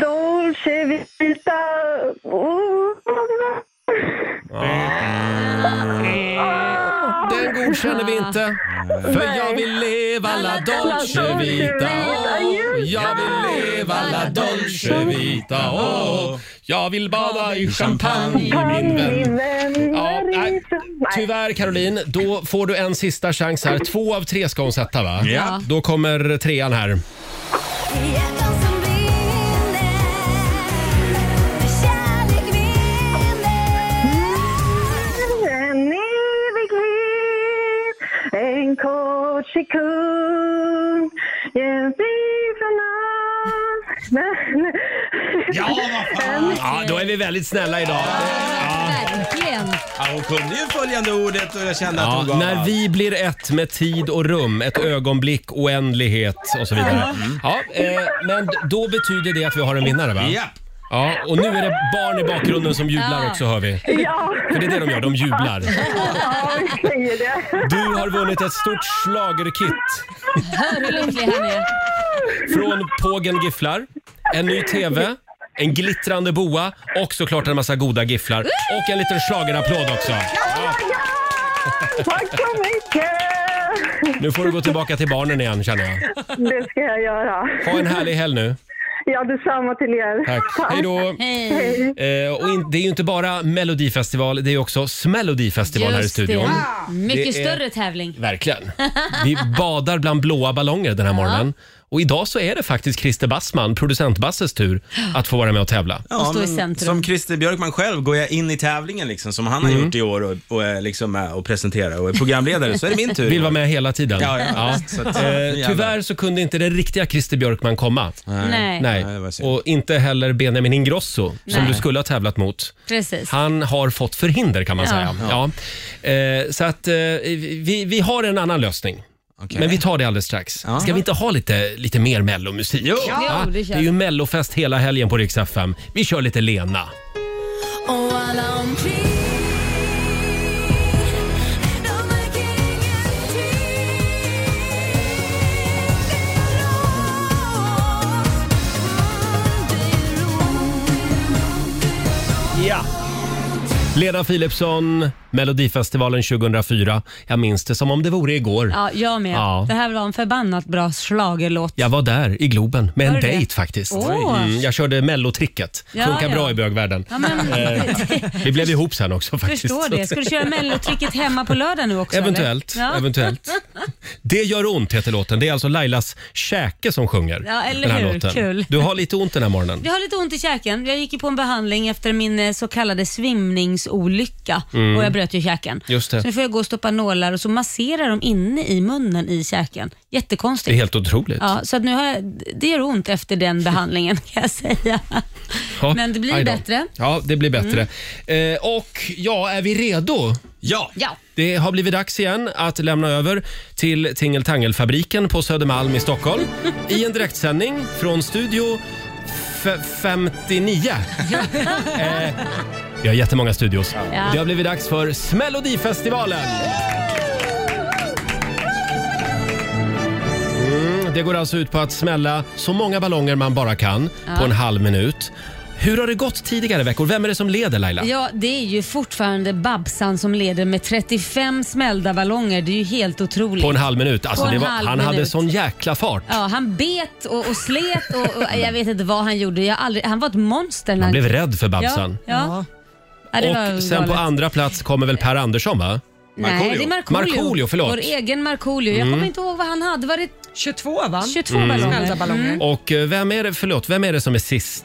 S11: Dolce vita. Oh.
S1: Den godkänner vi inte. För jag vill leva la dolce vita oh. Jag vill leva la dolce vita oh. Jag vill bada i champagne min vän Ja, nej, Tyvärr Caroline, då får du en sista chans här. Två av tre ska hon sätta va?
S9: Ja.
S1: Då kommer trean här.
S11: En evighet, en kort sekund. En stjärna.
S1: Ja, vad fan! Ja, då är vi väldigt snälla idag.
S4: Verkligen.
S7: Ja, hon kunde ju följande ordet och jag kände att
S1: Ja,
S7: hon gav
S1: när
S7: allt.
S1: vi blir ett med tid och rum, ett ögonblick, oändlighet och så vidare.
S7: Mm.
S1: Ja, eh, men då betyder det att vi har en vinnare va?
S7: Japp.
S1: Ja, och nu är det barn i bakgrunden som jublar
S11: Ja.
S1: också hör vi.
S11: Ja.
S1: För det är det de gör, de jublar.
S11: Ja, vi säger det.
S1: Du har vunnit ett stort schlagerkit
S4: Hör hur lycklig han är.
S1: från Pågen Gifflar, en ny TV, en glittrande boa och såklart en massa goda gifflar. Och en liten schlagerapplåd också.
S11: Tack så mycket!
S1: Nu får du gå tillbaka till barnen igen känner jag.
S11: Det ska jag göra.
S1: Ha en härlig helg nu.
S11: Ja, detsamma till er.
S1: Tack. Hej då.
S11: Hej.
S1: Eh, och in, det är ju inte bara Melodifestival, det är också Smällodifestival här i
S4: Just det. Ah,
S1: studion.
S4: Mycket
S1: Det är-
S4: större tävling.
S1: Verkligen. Vi badar bland blåa ballonger den här morgonen. Och idag så är det faktiskt Christer Bassman, producent Basses tur, att få vara med och tävla.
S7: Ja,
S4: stå i
S7: men
S4: centrum.
S7: Som Christer Björkman själv går jag in i tävlingen liksom, som han
S1: Mm.
S7: har gjort i år och, och är liksom med och presenterar och är programledare så är det min tur.
S1: Vill vara med hela tiden.
S7: Ja, ja. Så
S1: eh,
S7: att- nu jävlar.
S1: tyvärr så kunde inte den riktiga Christer Björkman komma.
S4: Nej.
S1: Nej. Och inte heller Benjamin Ingrosso, som
S4: Nej.
S1: du skulle ha tävlat mot.
S4: Precis.
S1: Han har fått förhinder kan man
S4: Ja.
S1: säga. Ja. Eh, så att eh, vi, vi har en annan lösning. Men vi tar det alldeles strax. Ska vi inte ha lite, lite mer mellomusik? Jo,
S4: Jo, det
S1: det,
S4: kör
S1: är
S4: vi.
S1: ju mellofest hela helgen på Rix FM. Vi kör lite Lena.
S9: Och alla omkring
S1: Ja. Lena Philipsson, Melodifestivalen 2004. Jag minns det som om det vore igår.
S4: Ja, jag med.
S1: Ja.
S4: Det här var en förbannat bra schlagerlåt.
S1: Jag var där i Globen med en
S4: Var du det?
S1: dejt faktiskt.
S4: Åh.
S1: Mm, jag körde mellotricket.
S4: Ja,
S1: Funkar
S4: ja.
S1: bra i bögvärlden.
S4: Ja, men,
S1: Eh, Vi blev ihop sen också faktiskt.
S4: förstår det. Ska du köra mellotricket hemma på lördag nu också?
S1: Eventuellt,
S4: Eller?
S1: eventuellt. Det gör ont heter låten. Det är alltså Lailas käke som sjunger
S4: Ja, eller
S1: den här
S4: hur?
S1: låten.
S4: Kul.
S1: Du har lite ont den här morgonen.
S4: Jag har lite ont i käken. Jag gick ju på en behandling efter min eh, så kallade svimningsolycka
S1: Mm.
S4: och jag bröt ju käken.
S1: Just det.
S4: Så nu får jag gå och stoppa nålar och så masserar de inne i munnen i käken. Jättekonstigt.
S1: Det är helt otroligt.
S4: Ja, så att nu har jag, det gör ont efter den behandlingen kan jag säga.
S1: Ja,
S4: Men det blir
S1: aj då.
S4: bättre. Mm.
S1: Ja, det blir bättre. Eh, och ja, är vi redo? Ja.
S4: Ja.
S1: Det har blivit dags igen att lämna över till Tingeltangelfabriken på Södermalm i Stockholm i en direktsändning från studio f- 59. eh, vi har jättemånga studios.
S12: Ja.
S1: Det har blivit dags för Smällodifestivalen. Mm, det går alltså ut på att smälla så många ballonger man bara kan
S4: Ja.
S1: på en halv minut. Hur har det gått tidigare veckor? Vem är det som leder Laila?
S4: Ja, det är ju fortfarande Babsan som leder med 35 smällda ballonger. Det är ju helt otroligt.
S1: På en halv minut. Alltså,
S4: På en
S1: det var,
S4: halv
S1: han hade
S4: minut.
S1: sån jäkla fart.
S4: Ja, han bet och, och slet och, och jag vet inte vad han gjorde. Jag har aldrig, han var ett monster. när
S1: Man blev rädd för Babsan.
S4: Ja, ja. Ja, det var
S1: Och sen
S4: galet.
S1: på andra plats kommer väl Per Andersson va?
S4: Nej, det är Markoolio.
S1: Markoolio, förlåt.
S4: Vår egen Markoolio. Jag
S1: Mm.
S4: kommer inte ihåg vad han hade. Var det 22 va? 22
S1: Mm.
S4: ballonger. Mm.
S1: Och eh, vem är det, förlåt, vem är det som är sist?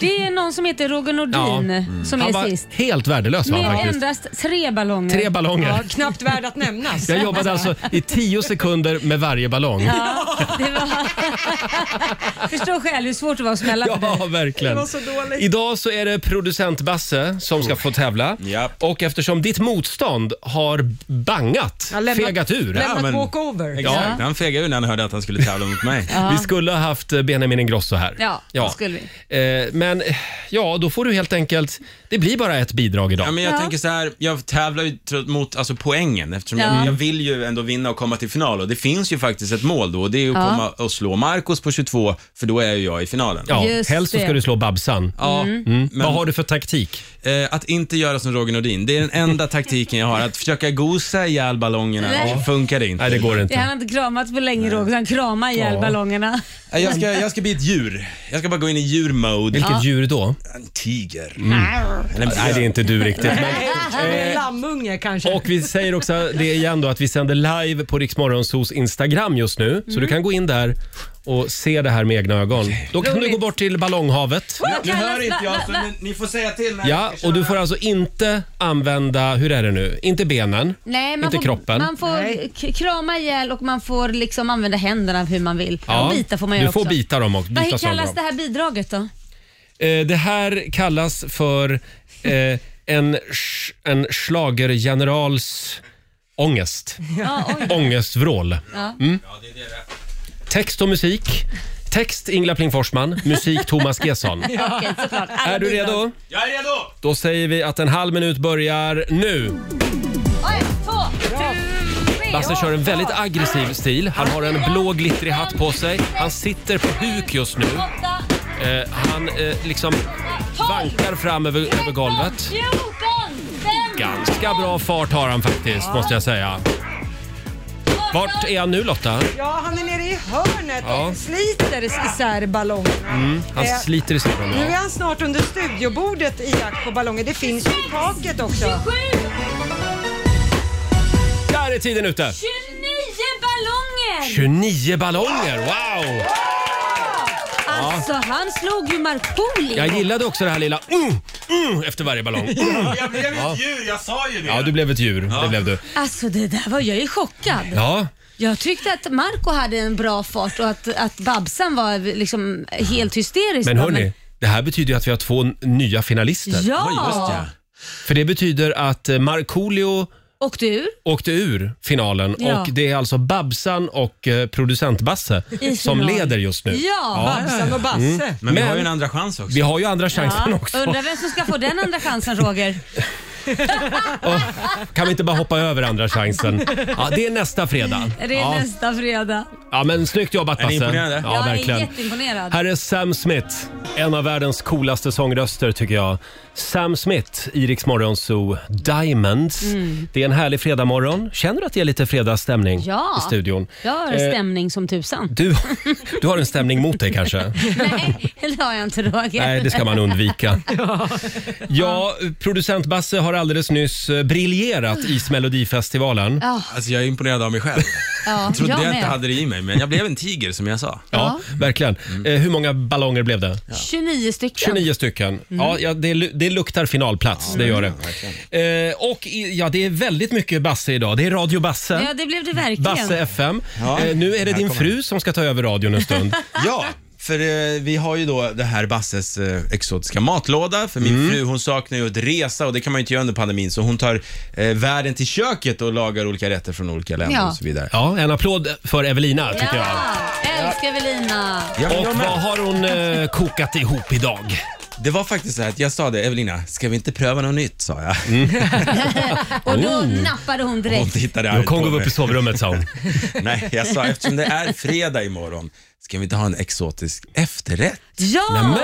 S4: Det är någon som heter Roger Nordin som
S1: Mm. han
S4: är
S1: var
S4: sist.
S1: helt värdelös var
S4: Med
S1: han faktiskt.
S4: endast tre ballonger.
S1: Tre ballonger. Ja,
S4: knappt värd att nämnas.
S1: Jag jobbade alltså i tio sekunder med varje ballong.
S4: Ja, det var... Förstå själv hur svårt det var att smälla på dig.
S1: Ja, verkligen.
S4: Det var så dåligt.
S1: Idag så är det producent Basse som ska få tävla. Och eftersom ditt motstånd har bangat,
S2: Ja, lämnat-
S1: fegat ur.
S2: lämnat Ja, men- walkover.
S7: Exakt.
S1: Han fegade ur när han hörde att han skulle tävla mot mig.
S4: Ja.
S1: Vi skulle ha haft eh, Benjamin Ingrosso här.
S4: Ja, det skulle vi.
S1: Eh, Men eh, ja, då får du helt enkelt... Det blir bara ett bidrag idag.
S7: Ja, men jag
S1: Ja.
S7: tänker så här, jag tävlar ju tro- mot alltså, poängen eftersom
S1: Ja.
S7: jag, jag vill ju ändå vinna och komma till final och det finns ju faktiskt ett mål då och det är ju att
S1: Ja.
S7: komma och slå Marcos på 22 för då är ju jag i finalen.
S1: Ja, Just helst så ska det. du slå Babsan.
S7: Ja, Eh,
S1: Mm. Vad har du för taktik?
S7: att inte göra som Roger Nordin. Det är den enda taktiken jag har. Att försöka gosa ihjäl ballongerna
S4: Nej.
S7: och funkar det inte.
S1: Nej, det går
S4: Det har han inte kramat på länge Roger, så han kramar ihjäl
S7: Ja.
S4: ballongerna.
S7: Jag ska, jag ska bli ett djur. Jag ska bara gå in i djurmode.
S4: Vilket Ja.
S1: djur då?
S7: En tiger.
S1: Eller- Nej, det är inte du riktigt. Men...
S2: En lammunge kanske.
S1: Och vi säger också det igen då att vi sänder live på Riksmorgonsos Instagram just nu. Så
S4: Mm.
S1: du kan gå in där och se det här med egna ögon. Då kan du gå bort till ballonghavet.
S7: Nu hör inte jag, så ni, ni får säga till när
S1: Ja,
S7: jag ska
S1: och du
S7: köra.
S1: får alltså inte använda, hur är det nu, inte benen,
S4: Nej, man
S1: inte
S4: får,
S1: kroppen.
S4: Man får k- krama ihjäl och man får liksom använda händerna hur man vill.
S1: Ja,
S4: Och bita får man
S1: du
S4: göra
S1: får
S4: också.
S1: bita dem också. Bita
S4: Vad
S1: sönder
S4: kallas
S1: dem.
S4: det här bidraget då?
S1: Eh, Det här kallas för eh, en, sch- en schlagergenerals ångest.
S12: Ja, oj.
S1: Ångestvrål.
S12: Ja.
S1: Mm. Text och musik. Text Ingela Pling Forsman, musik Thomas Gesson.
S12: Okej, såklart.
S1: Är du redo?
S7: Jag är redo!
S1: Då säger vi att en halv minut börjar nu.
S4: Ett, två, tre.
S1: Basse kör en väldigt aggressiv stil. Han har en blå glittrig hatt på sig. Han sitter på huk just nu. Eh, han eh, liksom vankar fram över, över golvet. Ganska bra fart har han faktiskt, måste jag säga. Vart är han nu Lotta?
S2: Ja, han är nere i hörnet
S1: Ja.
S2: och sliter isär ballongerna.
S1: Mm, han
S2: Eh,
S1: sliter isär dem.
S2: Nu är
S1: ja.
S2: han snart under studiobordet i jakt på ballonger. Det finns ju i taket också.
S1: Där är tiden ute!
S4: 29 ballonger!
S1: 29 ballonger, wow!
S4: Alltså, han slog ju Markoolio.
S1: Jag gillade också det här lilla mm, mm, efter varje ballong. Mm.
S7: Ja, jag blev
S1: Ja.
S7: ett djur, jag sa ju det.
S1: Ja, du blev ett djur. Det blev du.
S4: Alltså det där var, jag är chockad.
S1: Ja,
S4: Jag tyckte att Marco hade en bra fart och att, att Babsan var liksom helt hysterisk.
S1: men hörni, det här betyder ju att vi har två n- nya finalister.
S4: Ja. Ja, just det.
S1: För det betyder att eh, Markoolio
S4: Och du?
S1: åkte ur finalen
S4: Ja.
S1: och det är alltså Babsan och eh, producent Basse
S4: I
S1: som
S4: final.
S1: leder just nu. Mm.
S4: Ja, Babsan och Basse.
S7: Men vi har ju en andra chans också.
S1: Vi har ju andra chansen
S4: Ja,
S1: också.
S4: Undrar vem som ska få den andra chansen Roger.
S1: Kan vi inte bara hoppa över andra chansen? Ja, det är nästa fredag.
S4: Det är
S1: ja.
S4: nästa fredag.
S1: Ja, men snyggt jobbat
S7: Är ni
S1: Basse.
S7: imponerade?
S1: Ja,
S4: jag är
S1: verkligen.
S4: jätteimponerad.
S1: Här är Sam Smith, en av världens coolaste sångröster tycker jag. Sam Smith, i Rix Morgon Zoo, Diamonds.
S4: Mm.
S1: Det är en härlig fredagmorgon. Känner du att det är lite fredagsstämning
S4: Ja.
S1: i studion?
S4: Jag har
S1: Eh,
S4: en stämning som tusan.
S1: Du, du har en stämning mot dig kanske?
S4: Nej, det har jag inte Roger.
S1: Nej, det ska man undvika.
S4: ja.
S1: Ja, producent Basse har alldeles nyss eh, briljerat i Melodifestivalen.
S4: Ja.
S7: Alltså jag är imponerad av mig själv.
S4: Ja,
S7: Jag trodde jag,
S4: med.
S7: inte hade det i mig, men jag blev en tiger som jag sa. Mm.
S1: Ja, verkligen. Eh, Hur många ballonger blev det?
S4: 29 stycken.
S1: 29 stycken.
S4: Mm.
S1: Ja, ja det, lu- det luktar finalplats, det gör det. Eh, och i, ja, det är väldigt mycket Basse idag. Det är Radio Basse.
S4: Ja, det blev det verkligen.
S1: Basse FM.
S7: Ja.
S1: Eh, nu är det
S7: Här
S1: din
S7: kommer
S1: fru som ska ta över radion en stund.
S7: Ja, för eh, vi har ju då det här Basses eh, exotiska matlåda. För
S1: Mm.
S7: min fru hon saknar ju att resa och det kan man ju inte göra under pandemin. Så hon tar eh, världen till köket och lagar olika rätter från olika länder
S4: Ja.
S7: och så vidare.
S1: Ja, en applåd för Evelina tycker jag.
S4: Älskar Evelina.
S1: Och vad har hon eh, kokat ihop idag?
S7: Det var faktiskt så här att jag sa det, Evelina, ska vi inte pröva något nytt? sa jag.
S1: Mm.
S4: Och då
S7: Oh.
S4: nappade hon
S7: Hon
S4: direkt.
S7: tittade
S1: Då kom gå upp i sovrummet sa hon.
S7: Nej, jag sa eftersom det är fredag imorgon, ska vi inte ha en exotisk efterrätt?
S4: Ja!
S7: Nämen.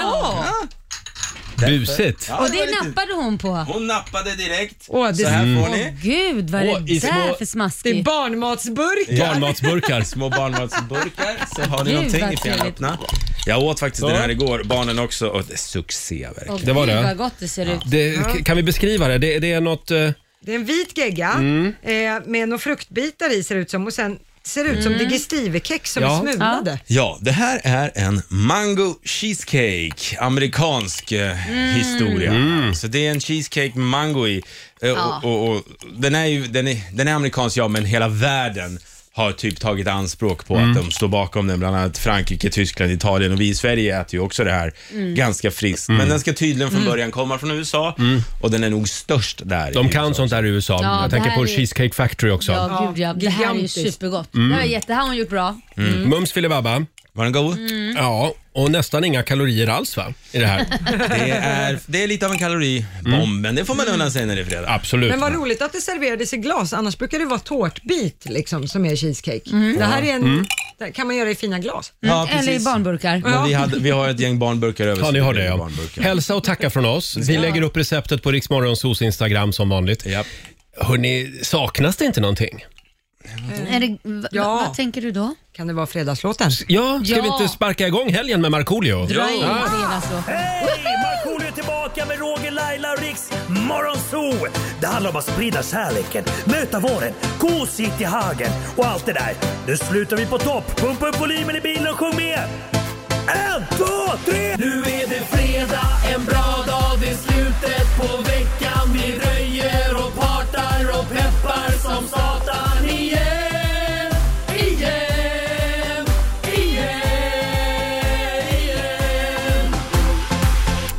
S1: Busigt.
S7: Ja,
S4: Och
S7: det var
S4: det
S7: lite-
S4: nappade hon på.
S7: Hon nappade direkt.
S4: Åh,
S7: Så här
S1: Mm.
S7: får ni.
S4: Åh, gud, vad är
S7: Åh,
S4: det
S7: i
S4: där
S7: små-
S4: för smaskigt? Det är
S2: barnmatsburk.
S7: Ja.
S1: Barnmatsburkar.
S7: Små barnmatsburkar. Så har ni
S4: Gud,
S7: någonting
S4: vad
S7: ni får gärna
S4: trevligt.
S7: öppna. Jag åt faktiskt
S1: Så.
S7: den här igår, barnen också, och det är succé verkligen.
S4: Åh,
S1: Det var
S4: gud,
S1: det.
S4: vad gott det ser ut.
S1: Det, k- kan vi beskriva det? Det, det är något... eh,
S2: Det är en vit gegga
S1: Mm.
S2: eh, med några fruktbitar i ser det ut som och sen ser det ut som
S4: Mm.
S2: digestivekex som
S7: Ja.
S2: är smulade.
S7: Ja, det här är en mango cheesecake, amerikansk eh,
S2: Mm.
S7: historia. Så det är en cheesecake med mango i. Eh,
S4: Ja.
S7: och, och, och, den, är ju, den, är, den är amerikansk ja, men hela världen har typ tagit anspråk på
S1: Mm.
S7: att de står bakom den, bland annat Frankrike, Tyskland, Italien och vi i Sverige äter ju också det här
S1: Mm. Mm.
S7: ganska friskt. Men den ska tydligen från början komma från USA och den är nog störst där.
S1: De
S7: i
S1: kan
S7: USA.
S1: sånt där i USA.
S4: Ja, det
S1: Jag tänker
S4: här
S1: på
S4: är-
S1: Cheesecake Factory också.
S4: Ja, gud ja. Det här är ju
S2: Gigantiskt.
S4: supergott.
S1: Mm.
S4: Det, här är jätte, det här har hon gjort bra.
S1: Mm. Mums filibabba.
S7: Var den god?
S4: Mm.
S1: Ja, och nästan inga kalorier alls va? I det här. Mm.
S7: Det är, det är lite av en kaloribomb, men det får man unna sig när det är fredag.
S1: Absolut.
S2: Men vad roligt att det serverades i glas, annars brukar det vara tårtbit liksom, som är cheesecake. Det här är en,
S7: Mm.
S2: det kan man göra i fina glas.
S7: Ja, precis.
S4: Mm. Eller i barnburkar.
S7: Men vi, hade, vi har ett gäng barnburkar över.
S1: Ja, ni har det
S7: ja.
S1: ja. Hälsa och tacka från oss. Vi lägger upp receptet på Riksmorgonsos Instagram som vanligt. Hörrni, saknas det inte någonting?
S4: Är det, va,
S2: Ja.
S4: Vad tänker du då?
S2: Kan det vara fredagslåten?
S1: Ja, ska
S4: Ja.
S1: vi inte sparka igång helgen med Markoolio?
S4: Dra in fredagslåten.
S12: Hej! Markoolio är tillbaka med Roger, Laila och Riks Morgonzoo! Det handlar om att sprida kärleken, möta våren, gosigt i hagen och allt det där. Nu slutar vi på topp! Pumpa upp volymen i bilen och sjung med! En, två, tre! Nu är det fredag, en bra dag, det är slutet på veckan. Vi röjer och partar och peppar som satan igen, igen, igen, igen.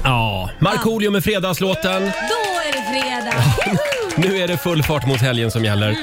S1: Ja, Markoolio med fredagslåten.
S4: Då är det fredag!
S1: Nu är det full fart mot helgen som gäller.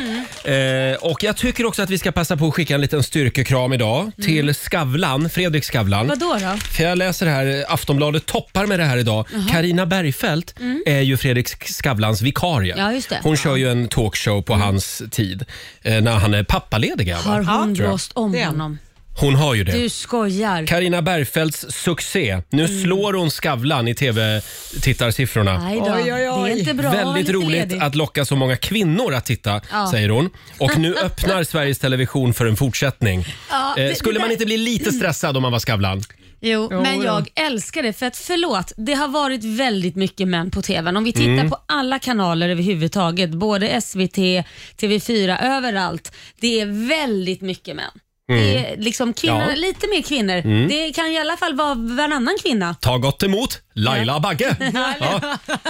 S1: Eh, och jag tycker också att vi ska passa på att skicka en liten styrkekram idag till Skavlan, Fredrik Skavlan.
S4: Mm. Vadå då?
S1: För jag läser här, eh, Aftonbladet toppar med det här idag.
S4: Jaha.
S1: Karina Bergfeldt
S4: Mm.
S1: är ju Fredrik Sk- Skavlans vikarie.
S4: Ja, just det. Mm.
S1: Hon kör ju en talkshow på hans tid eh, när han är pappaledig. va?
S4: Har hon
S1: Tror jag.
S4: blåst om honom?
S1: Hon har ju det.
S4: Du Mm. skojar.
S1: Karina Bergfeldts succé. Nu slår hon Skavlan i tv-tittarsiffrorna.
S4: Nej då,
S2: Oj, oj, oj.
S4: det är inte bra. Var
S1: Väldigt
S4: lite
S1: roligt
S4: ledig.
S1: att locka så många kvinnor att titta,
S4: Ja.
S1: säger hon. Och nu öppnar Sveriges Television för en fortsättning.
S4: Ja,
S1: eh,
S4: det-
S1: skulle
S4: det
S1: man
S4: där-
S1: inte bli lite stressad om man var Skavlan?
S4: Jo,
S2: Jo
S4: men
S2: då.
S4: jag älskar det för att förlåt, det har varit väldigt mycket män på TVn. Om vi tittar
S1: Mm.
S4: på alla kanaler överhuvudtaget, både SVT, TV4, överallt. Det är väldigt mycket män.
S1: Mm.
S4: Det är liksom kvinnor,
S1: Ja.
S4: lite mer kvinnor.
S1: Mm.
S4: Det kan i alla fall vara varannan kvinna.
S1: Ta gott emot Laila Bagge! Ja.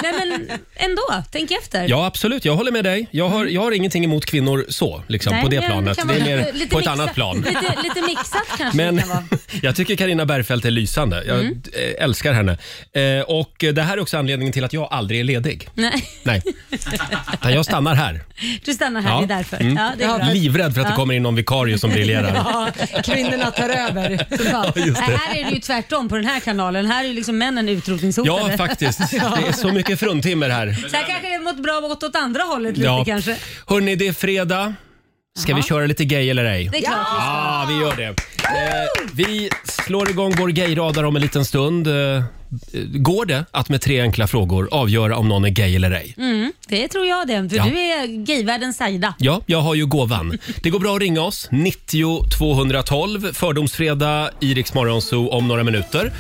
S4: Nej men ändå, tänk efter.
S1: Ja, absolut. Jag håller med dig. Jag har, jag har ingenting emot kvinnor så, liksom,
S4: Nej,
S1: på det
S4: men
S1: planet.
S4: kan
S1: Det är
S4: man-
S1: mer
S4: lite
S1: på ett
S4: mixa-
S1: annat plan.
S4: Lite, lite mixat kanske
S1: Men
S4: det kan vara.
S1: jag tycker Karina Bergfeldt är lysande. Jag
S4: Mm.
S1: eh, älskar henne. Eh, och Det här är också anledningen till att jag aldrig är ledig.
S4: Nej,
S1: Nej, utan jag stannar här.
S4: du stannar här,
S1: Ja.
S4: det är därför.
S1: Mm.
S4: Ja, det är bra.
S1: Livrädd för att
S4: Ja.
S1: det kommer in någon vikarie som briljerar.
S2: Ja, kvinnorna tar över.
S4: Ja,
S1: just det.
S4: Här är det ju tvärtom på den här kanalen. Här är ju liksom männen utrotningshotade.
S1: Ja, faktiskt. Det är så mycket fruntimmer här.
S4: Så här kanske det mått bra åt, åt andra hållet lite
S1: Ja.
S4: kanske.
S1: Hörni, det är fredag. Ska vi köra lite gay eller ej?
S4: Det är klart vi ska.
S1: Ja, vi gör det. Eh, vi slår igång vår gayradar om en liten stund. Eh, eh, går det att med tre enkla frågor avgöra om någon är gay eller ej?
S4: Mm, det tror jag det, för
S1: Ja.
S4: du är gayvärldens Saida.
S1: Ja, jag har ju gåvan. Det går bra att ringa oss. 90 212, Fördomsfredag i Rix Morgon Zoo om några minuter.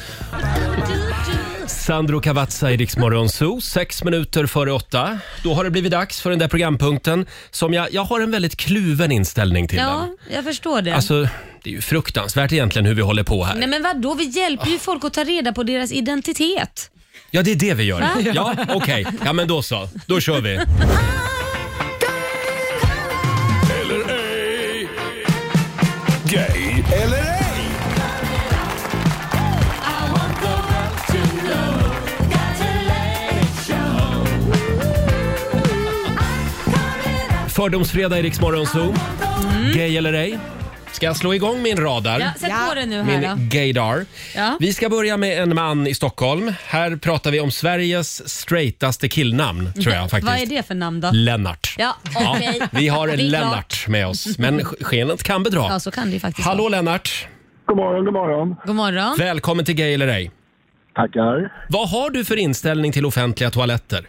S1: Sandro Cavazza i Rix Morgon Zoo, sex minuter före åtta. Då har det blivit dags för den där programpunkten som jag, jag har en väldigt kluven inställning till.
S4: Ja, jag förstår det.
S1: Den. Alltså, det är ju fruktansvärt egentligen hur vi håller på här. Ah.
S4: Nej men vadå, vi hjälper ju folk att ta reda på deras identitet.
S1: Ja, det är det vi gör.
S4: Va?
S1: Ja, okej. Ja, men då så. Då kör vi.
S3: Gay eller ej?
S1: Fördomsfredag i Rix Morgon Zoo. Gay eller ej? Ska jag slå igång min radar?
S4: Mm. Ja, sätt på den nu här då.
S1: Min gaydar.
S4: Ja.
S1: Vi ska börja med en man i Stockholm. Här pratar vi om Sveriges straightaste killnamn, tror jag faktiskt.
S4: Mm. Vad är det för namn då?
S1: Lennart.
S4: Ja, okej.
S1: vi har
S4: Det är
S1: Lennart med oss, men sk- skenet kan bedra.
S4: Ja, så kan det ju faktiskt
S1: Hallå
S4: vara.
S1: Lennart!
S14: God morgon, god morgon.
S4: God morgon.
S1: Välkommen till Gay eller ej.
S14: Tackar.
S1: Vad har du för inställning till offentliga toaletter?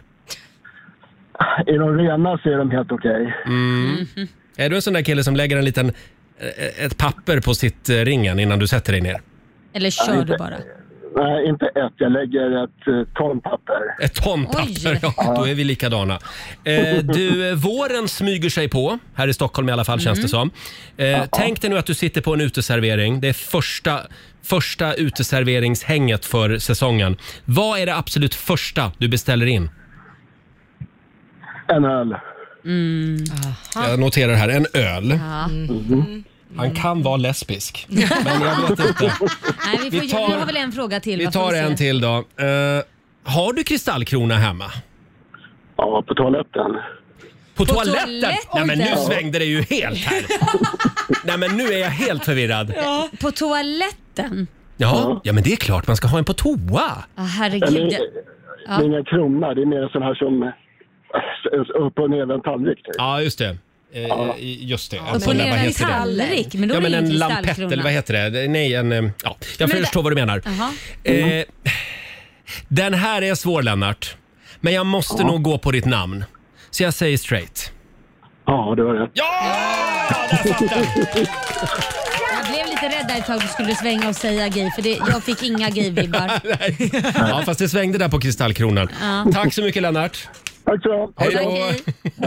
S14: Är de rena så är de helt okej.
S1: Mm.
S4: Mhm.
S1: Är du en sån där kille som lägger en liten, eh, ett papper på sitt eh, ringen innan du sätter dig ner?
S4: Eller kör du bara?
S14: Nej, inte ett. Jag lägger ett eh, ton papper.
S1: Ett tompapper, ja. Då är vi likadana. Eh, du, eh, våren smyger sig på, här i Stockholm i alla fall känns det som.
S4: Mm.
S1: Eh, tänk dig nu att du sitter på en uteservering. Det är första, första uteserveringshänget för säsongen. Vad är det absolut första du beställer in?
S14: En öl.
S4: Mm.
S1: Jag noterar här, en öl. Mm-hmm.
S4: Ja.
S1: Mm. Han kan vara lesbisk, men jag vet inte.
S4: Nej, vi, får,
S1: Vi
S4: vi,
S1: tar-
S4: har väl en fråga till.
S1: Vi
S4: va, får
S1: tar
S4: se.
S1: en till då. Eh, har du kristallkrona hemma?
S14: Ja, på toaletten.
S1: På,
S4: På
S1: toaletten?
S4: toaletten?
S1: Nej men nu
S4: Oj, där.
S1: svängde det ju helt här. Nej men nu är jag helt förvirrad.
S4: Ja. På toaletten?
S1: Ja, ja men det är klart man ska ha en på toa.
S4: Ah, herregud.
S14: Eller-
S4: Ja.
S14: Det är ingen krona. Det är mer en sån här som eh, s- upp och ner en tallrik. Typ.
S1: Ja just det. Eh, just det.
S4: Upp och
S1: sån där-
S4: ner
S1: vad
S4: en
S1: heter det?
S4: tallrik, men då
S1: ja,
S4: är det
S1: men en
S4: ingen
S1: lampett
S4: kristallkrona.
S1: eller vad heter det? Nej en... eh, Ja, jag
S4: Men det-
S1: förstår vad du menar.
S4: Jaha.
S1: Eh, den här är svår Lennart. Men jag måste nog gå på ditt namn. Så jag säger straight.
S14: Ja, det var rätt.
S4: Jag blev lite rädd där ett tag du skulle svänga och säga gay, för det, jag fick inga gay-vibbar.
S1: Ja, fast det svängde där på kristallkronan.
S4: Ja.
S1: Tack så mycket Lennart.
S14: Tack så
S1: Hej då.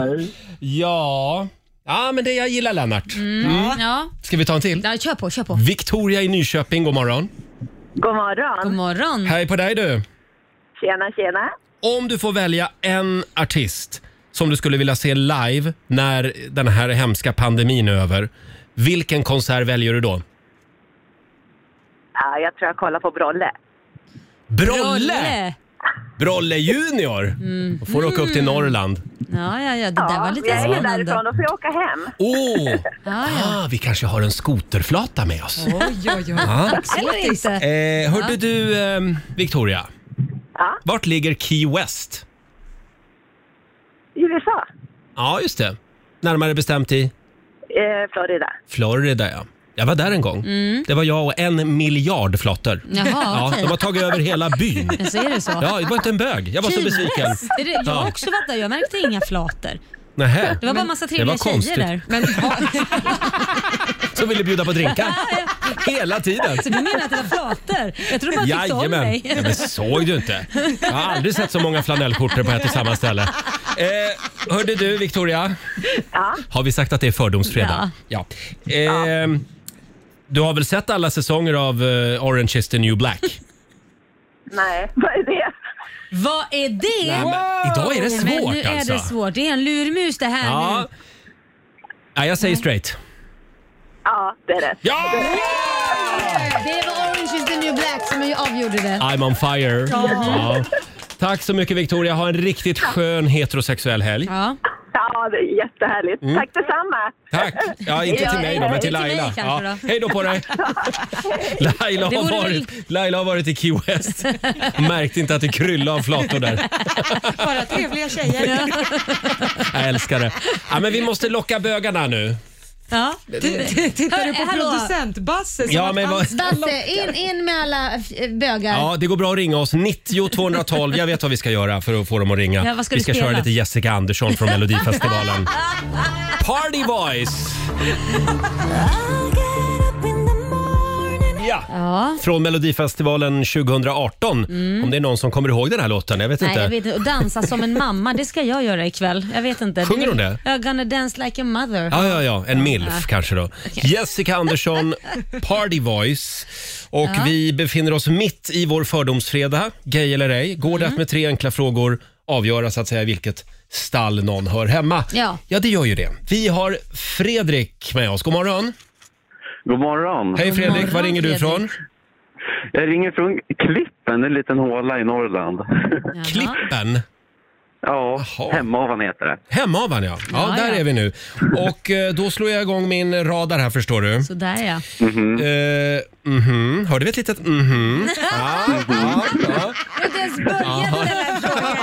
S4: Okej.
S1: Ja. ja, men det jag gillar Lennart.
S4: Mm. Ja.
S1: Ska vi ta en till?
S4: ja, kör på, kör på.
S1: Victoria i Nyköping, god morgon.
S11: God morgon.
S4: God morgon.
S1: Hej på dig du.
S11: Tjena, tjena.
S1: Om du får välja en artist som du skulle vilja se live när den här hemska pandemin är över. Vilken konsert väljer du då?
S11: Ja, jag tror jag kollar på Brolle.
S1: Brolle! Brolle Junior!
S4: Mm.
S1: Då får du åka upp till Norrland.
S4: Ja, ja, ja, det där var lite
S11: jag är ju
S4: spännande.
S11: därifrån, då får jag åka hem.
S1: Åh!
S4: Ja, ja.
S1: Ah, vi kanske har en skoterflata med oss.
S15: Oj, oj, oj.
S1: Ja.
S4: Eller inte.
S1: Eh, hörde
S4: Ja.
S1: du, ehm, Victoria?
S11: Ja.
S1: Vart ligger Key West?
S11: I USA.
S1: Ja, just det. Närmare bestämt i
S11: Eh, Florida.
S1: Florida, ja. Jag var där en gång.
S11: Mm.
S1: Det var jag och en miljard flottor.
S4: Jaha,
S1: ja,
S4: okej.
S1: De har tagit över hela byn.
S4: Ja, så är det så?
S1: Ja, det var inte en bög. Jag var så
S4: Key
S1: besviken.
S4: West. Är det, jag har
S1: Ja.
S4: också varit där, jag märkte inga flator.
S1: Nähä.
S4: Det var bara massa
S1: Det
S4: trevliga
S1: var konstigt.
S4: tjejer där.
S1: Som ville bjuda på drinkar. Hela tiden.
S4: Så du menar att det var flator? Jag trodde bara att du tyckte om dig.
S1: Ja, men såg du inte? Jag har aldrig sett så många flanellskjortor på ett och samma ställe. Eh, hörde du Victoria?
S11: Ja.
S1: Har vi sagt att det är fördomsfredag? Ja. Eh, Du har väl sett alla säsonger av eh, Orange is the new black?
S11: Nej, vad är det?
S4: Vad är det?
S1: Nej, men idag är det
S4: Men
S1: svårt,
S4: nu är
S1: alltså.
S4: det svårt. Det är en lurmus det här
S1: Ja.
S4: nu.
S1: Nej, jag säger straight.
S11: Ja, det är rätt.
S1: Ja!
S15: Det var Orange is the new black som avgjorde det.
S1: I'm on fire.
S15: Ja.
S1: Tack så mycket Victoria. Ha en riktigt skön heterosexuell helg.
S4: Ja.
S11: Ja, det är jättehärligt.
S1: Mm.
S11: Tack detsamma.
S1: Tack! Ja, inte
S11: Ja,
S1: till mig då, men till
S11: inte till
S1: Laila.
S11: mig kanske
S1: ja.
S11: då.
S1: Hej då på dig! Laila
S11: Det
S1: har,
S11: vore
S1: varit, Laila har varit i Key West. Märkte inte att det kryllade av flator där.
S15: Bara trevliga tjejer.
S1: Jag älskar det. Ja, men vi måste locka bögarna nu.
S4: Ja.
S2: Tittar du på
S15: Hallå.
S2: producent Basse? som
S1: Ja,
S2: att
S1: men vad-
S2: anställa-
S15: Basse, in, in med alla eh, bögar.
S1: Ja, det går bra att ringa oss. 90 212. Jag vet vad vi ska göra för att få dem att ringa.
S15: Ja, vad ska
S1: vi
S15: du
S1: ska
S15: spela?
S1: köra lite Jessica Andersson från Melodifestivalen. Party Boys! Ja.
S4: Ja.
S1: Från Melodifestivalen 2018.
S4: Mm.
S1: Om det är någon som kommer ihåg den här låten. Jag vet
S4: Nej,
S1: inte.
S4: jag vet inte. Och dansa som en mamma, det ska jag göra ikväll. Jag vet inte.
S1: Sjunger hon det?
S4: Jag gonna dance like a mother.
S1: Ja, ja, ja. En milf
S4: Ja.
S1: kanske då. Jessica Andersson, Party Voice. Och vi befinner oss mitt i vår fördomsfredag, gay eller ej. Går det att med tre enkla frågor avgöra så att säga vilket stall någon hör hemma?
S4: Ja.
S1: Ja, det gör ju det. Vi har Fredrik med oss. God morgon.
S16: God morgon.
S1: Hej Fredrik, var ringer du ifrån?
S16: Jag ringer från Klippen, en liten håla i Norrland.
S1: Klippen?
S16: Ja, Hemavan heter det.
S1: Hemavan ja. Ja,
S16: Ja,
S1: där
S16: ja.
S1: är vi nu. Och eh, då slår jag igång min radar här förstår du.
S4: Sådär ja.
S1: Mhm. mhm. Hörde vi ett litet mhm? Ja, ja, ja.
S4: Inte ens började den här frågan.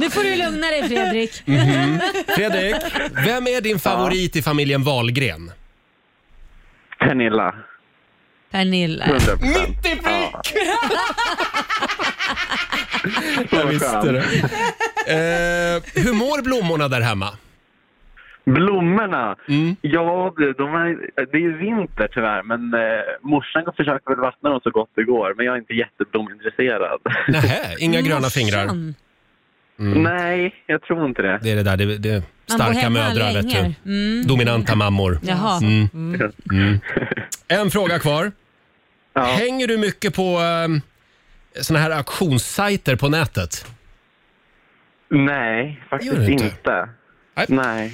S4: Nu får du lugna dig Fredrik.
S1: Mhm. Fredrik, vem är din favorit i familjen Wahlgren?
S16: Pernilla.
S4: Pernilla.
S16: 100%.
S4: Mitt i prick!
S1: Jag visste det. Eh, hur mår blommorna där hemma? Mm.
S16: Blommorna? Ja, du, de är, det är ju vinter tyvärr, men eh, morsan försöker väl vattna dem så gott det går, men jag är inte jätteblomintresserad.
S1: Nähä, inga gröna fingrar? Mm.
S16: Nej, jag tror inte det.
S1: Det är det där, det, det starka
S16: hemma
S1: mödrar vet
S16: länge.
S1: du.
S16: Mm.
S1: Dominanta mammor.
S16: Jaha.
S1: Mm. Mm. En fråga kvar. Hänger du mycket på um, såna här auktionssajter på nätet?
S16: Nej, faktiskt
S1: Gör det inte?
S16: inte. Nej.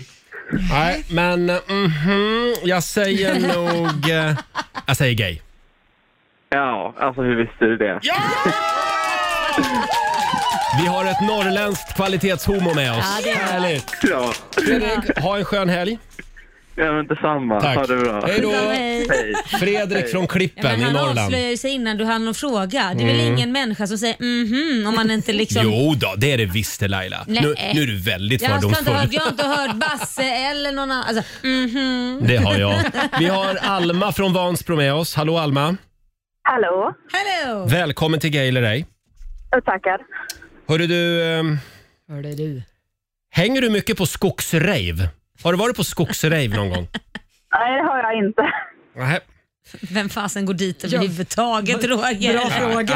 S1: Nej, men eh, mhm, jag säger nog... eh, jag säger gay.
S16: Ja, alltså hur visste du det?
S1: Vi har ett norrländskt kvalitetshomo med oss.
S16: Ja, det är bra.
S1: Härligt.
S16: Ja.
S1: Fredrik, ha en skön helg.
S16: Ja, men detsamma.
S1: Tack.
S16: Ha det bra.
S1: Hej då.
S4: Hej.
S1: Fredrik
S16: Hej.
S1: från
S4: Ja,
S1: Klippen
S4: men
S1: i
S4: han
S1: Norrland.
S4: avslöjar sig innan du hann någon fråga. Det är väl
S1: Mm.
S4: ingen människa som säger mhm om man inte liksom...
S1: Jo då, det är det visst det, Laila.
S4: Nej.
S1: Nu, nu är du väldigt
S4: jag har, inte hört,
S1: fördomsfull.
S4: jag har inte hört Basse eller någon annan. Alltså, mhm.
S1: Det har jag. Vi har Alma från Vansbro med oss. Hallå Alma.
S17: Hallå?
S4: Hello!
S1: Välkommen till Gay eller ej.
S17: Och tackar.
S1: Hörru du, ehm,
S4: Hörde du?
S1: hänger du mycket på skogsrave? Har du varit på skogsrave någon gång?
S17: Nej, det har jag inte.
S1: Nej.
S4: Vem fasen går dit överhuvudtaget Roger?
S1: Ja,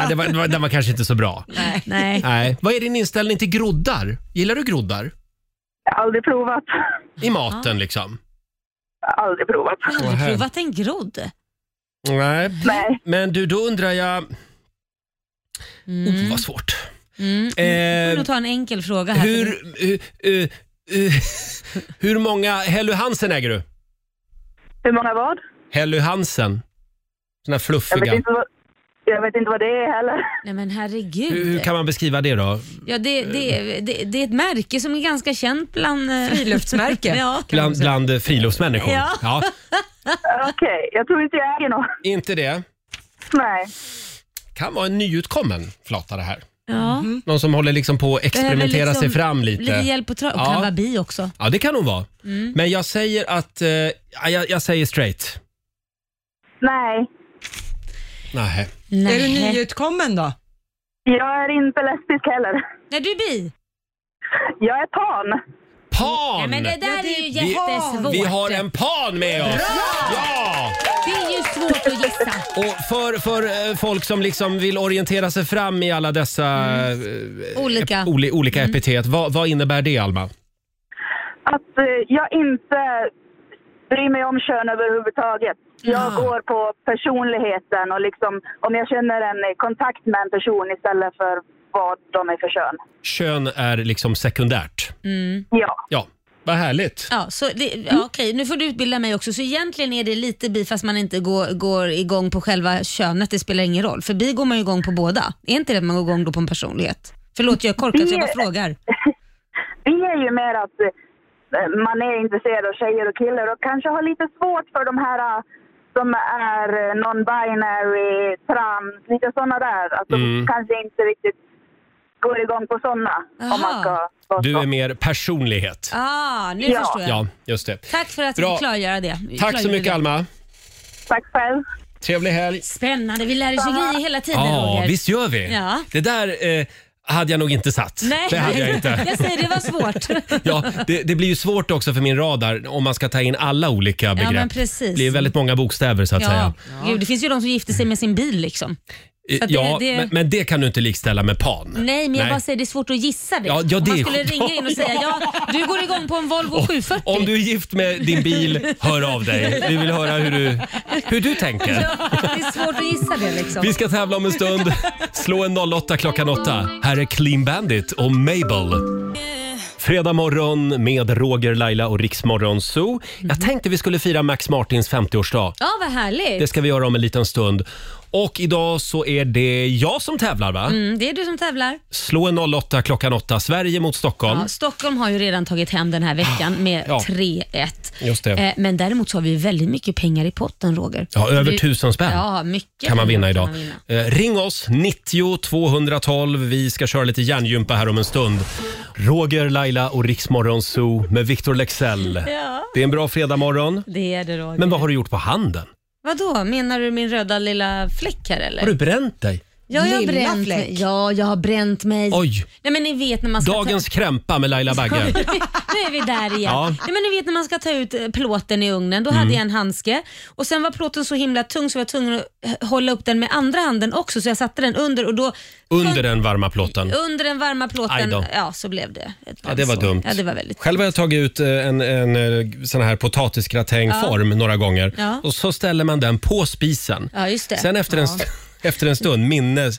S1: det var, det var, den var kanske inte så bra.
S4: Nej.
S1: Nej. Vad är din inställning till groddar? Gillar du groddar?
S17: Jag har aldrig provat.
S1: I maten liksom?
S17: Aldrig provat.
S4: Jag har aldrig provat en grodd.
S1: Nej. Men du, då undrar jag... Oh, vad svårt.
S4: Mm.
S1: Eh,
S4: Vi får nog ta en enkel fråga här.
S1: Hur, eh, eh, eh, hur många Helly Hansen äger du?
S17: Hur många vad?
S1: Helly Hansen? Såna här
S17: Jag vet,
S1: fluffiga.
S17: inte vad jag vet inte vad det är heller.
S4: Nej men herregud.
S1: Hur, hur kan man beskriva det då?
S4: Ja, det, det, det, det är ett märke som är ganska känt bland... eh,
S2: Friluftsmärke.
S4: ja.
S1: Bland, bland eh, friluftsmänniskor?
S4: Ja.
S17: Okej, jag tror inte jag äger något.
S1: Inte det?
S17: Nej.
S1: Kan vara en nyutkommen flata det här.
S4: Ja.
S1: Någon som håller liksom på att experimentera
S4: Behöver liksom
S1: sig fram lite.
S4: Lite hjälp och, tra- och kan vara
S1: ja.
S4: bi också.
S1: ja, det kan hon vara.
S4: Mm.
S1: Men jag säger att... Eh, ja, jag, jag säger straight.
S17: Nej.
S1: Nej.
S2: Är du nyutkommen då?
S17: Jag är inte lesbisk heller.
S4: Nej, du är bi.
S17: Jag är pan.
S1: Pan!
S4: Nej, men det där är ju jättesvårt.
S1: Vi, vi har en pan med oss! Ja!
S4: Det är ju svårt att gissa.
S1: Och för, för eh, folk som liksom vill orientera sig fram i alla dessa eh,
S4: Mm. Olika.
S1: ep- oli, olika
S4: Mm.
S1: epitet, vad, vad innebär det Alma?
S17: Att eh, jag inte bryr mig om kön överhuvudtaget. Jag går på personligheten och liksom om jag känner en eh, kontakt med en person istället för vad de är för kön.
S1: Kön är liksom sekundärt.
S4: Mm.
S17: Ja.
S1: Ja, vad härligt.
S4: Ja, så det, ja,
S1: Mm.
S4: okej, nu får du utbilda mig också. Så egentligen är det lite bi fast man inte går, går igång på själva könet, det spelar ingen roll. För bi går man ju igång på båda. Är inte det att man går igång då på en personlighet? Förlåt, jag är korkad så jag bara frågar.
S17: Vi är ju mer att eh, man är intresserad av tjejer och killar och kanske har lite svårt för de här eh, som är eh, non-binary, trans, lite sådana där. Alltså
S1: Mm.
S17: kanske inte riktigt går igång på sådana. Om man
S4: Aha.
S17: ska...
S1: Du är mer personlighet.
S4: Ah, nu
S17: Ja.
S4: förstår jag.
S1: Ja, just det.
S4: Tack för att
S1: Bra.
S4: du klargör det.
S1: Tack så
S4: Klargjorde
S1: mycket
S4: det.
S1: Alma.
S17: Tack själv.
S1: Trevlig helg.
S4: Spännande, vi lär oss ju grejer hela tiden
S1: Ja,
S4: Roger.
S1: visst gör vi.
S4: Ja.
S1: Det där eh, hade jag nog inte satt.
S4: Nej,
S1: Det hade jag inte.
S4: jag säger det var svårt.
S1: Ja, det, det blir ju svårt också för min radar om man ska ta in alla olika begrepp.
S4: men precis.
S1: Det blir väldigt många bokstäver så att säga.
S4: Ja. Gud, det finns ju de som gifter sig med sin bil liksom. Så att det-
S1: ja,
S4: det-
S1: Men, men det kan du inte likställa med pan.
S4: Nej, men jag bara säger det är svårt att gissa det.
S1: Ja, ja,
S4: Om
S1: det
S4: man
S1: är
S4: skulle
S1: sjukt.
S4: ringa in och säga ja, du går igång på en Volvo 740.
S1: Om du är gift med din bil, hör av dig. Vi vill höra hur du, hur du tänker.
S4: Ja, det är svårt att gissa det liksom.
S1: Vi ska tävla om en stund. Slå en 08 klockan 8. Här är Clean Bandit och Mabel. Fredag morgon med Roger, Laila och Riksmorgon Zoo.
S4: Mhm.
S1: Jag tänkte vi skulle fira Max Martins 50-årsdag.
S4: Ja, vad härligt.
S1: Det ska vi göra om en liten stund. Och idag så är det jag som tävlar va?
S4: Mm, det är du som tävlar.
S1: Slå en 08 klockan 8. Sverige mot Stockholm.
S4: Ja, Stockholm har ju redan tagit hem den här veckan med
S1: Ja.
S4: 3-1.
S1: Just det.
S4: Eh, Men däremot så har vi väldigt mycket pengar i potten, Roger.
S1: Ja, över
S4: Vi-
S1: 1000 spänn
S4: Ja, mycket
S1: kan man vinna
S4: pengar
S1: idag.
S4: kan man vinna.
S1: Eh, ring oss, 90 212. Vi ska köra lite hjärngympa här om en stund. Roger, Laila och Riksmorgon Zoo med Victor Lexell.
S4: Ja.
S1: Det är en bra fredagmorgon.
S4: Det är det, Roger.
S1: Men vad har du gjort på handen?
S4: Vadå, menar du min röda lilla fläck här eller?
S1: Har du bränt dig?
S4: Ja, jag har
S2: Lilla
S4: bränt
S2: fläck.
S4: mig. Ja, jag har bränt mig.
S1: Oj.
S4: Nej, men ni vet när man ska
S1: Dagens
S4: ta...
S1: krämpa med Laila Bagge.
S4: nu är vi där igen.
S1: Ja.
S4: Nej, men ni vet när man ska ta ut eh, plåten i ugnen, då
S1: Mm.
S4: hade jag en handske och sen var plåten så himla tung så jag var tvungen att eh, hålla upp den med andra handen också så jag satte den under och då
S1: Under den varma plåten.
S4: under den varma
S1: Aj
S4: plåten
S1: då.
S4: ja, så blev det ett
S1: Ja, det var
S4: brandsår.
S1: dumt.
S4: Ja, det var väldigt
S1: Själv har jag tagit ut eh, en, en eh, sån här potatisgratängform några gånger.
S4: Ja.
S1: Och så ställer man den på spisen.
S4: Ja, just det.
S1: Sen efter en,
S4: Ja.
S1: st- efter en stund, minne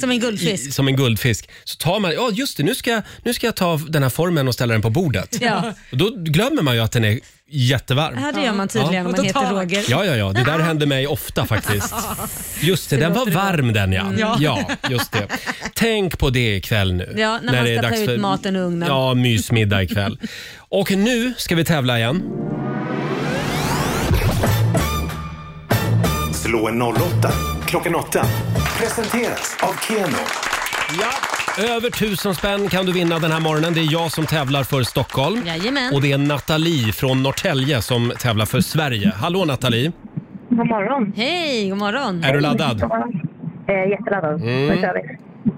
S4: Som en guldfisk.
S1: i- som en guldfisk. Så tar man, ja just det, nu ska, jag, nu ska jag ta den här formen och ställa den på bordet.
S4: Ja.
S1: Och då glömmer man ju att den är jättevarm.
S4: Ja, det gör man tydligen om man heter Roger.
S1: Ja, ja, ja. Det där händer mig ofta faktiskt. Just det, den var varm den ja.
S4: Mm. Ja.
S1: Ja, just det. Tänk på det ikväll nu.
S4: Ja, när man ska ta ut maten ur ugnen.
S1: Ja, mysmiddag ikväll. Och nu ska vi tävla igen.
S3: Slå en 08 klockan 8. Presenteras av Keno.
S1: Över tusen spänn kan du vinna den här morgonen. Det är jag som tävlar för Stockholm.
S4: Jajamän.
S1: Och det är Nathalie från Norrtälje som tävlar för Sverige. Hallå Nathalie!
S4: God morgon. Hej, god morgon.
S1: Är du laddad?
S17: Eh, jätteladdad.
S1: Mm.
S17: Nu kör vi.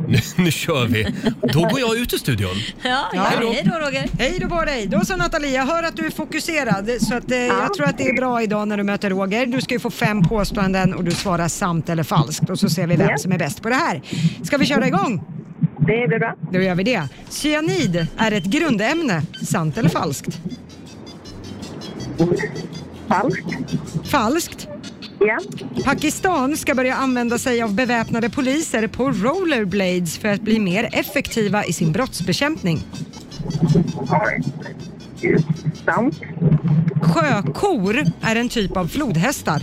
S1: Nu, nu kör vi! Då går jag ut ur studion.
S4: Ja,
S1: ja. Hej då. Hej
S4: Roger.
S18: Hej då på dig. Då så Nathalie, jag hör att du är fokuserad så att, eh, jag tror att det är bra idag när du möter Roger. Du ska ju få fem påståenden och du svarar sant eller falskt och så ser vi vem som är bäst på det här. Ska vi köra igång? Det blir bra. Då gör vi det. Cyanid är ett grundämne, sant eller falskt? Falskt. Falskt? Ja. Pakistan ska börja använda sig av beväpnade poliser på rollerblades för att bli mer effektiva i sin brottsbekämpning. Sant. Sjökor är en typ av flodhästar.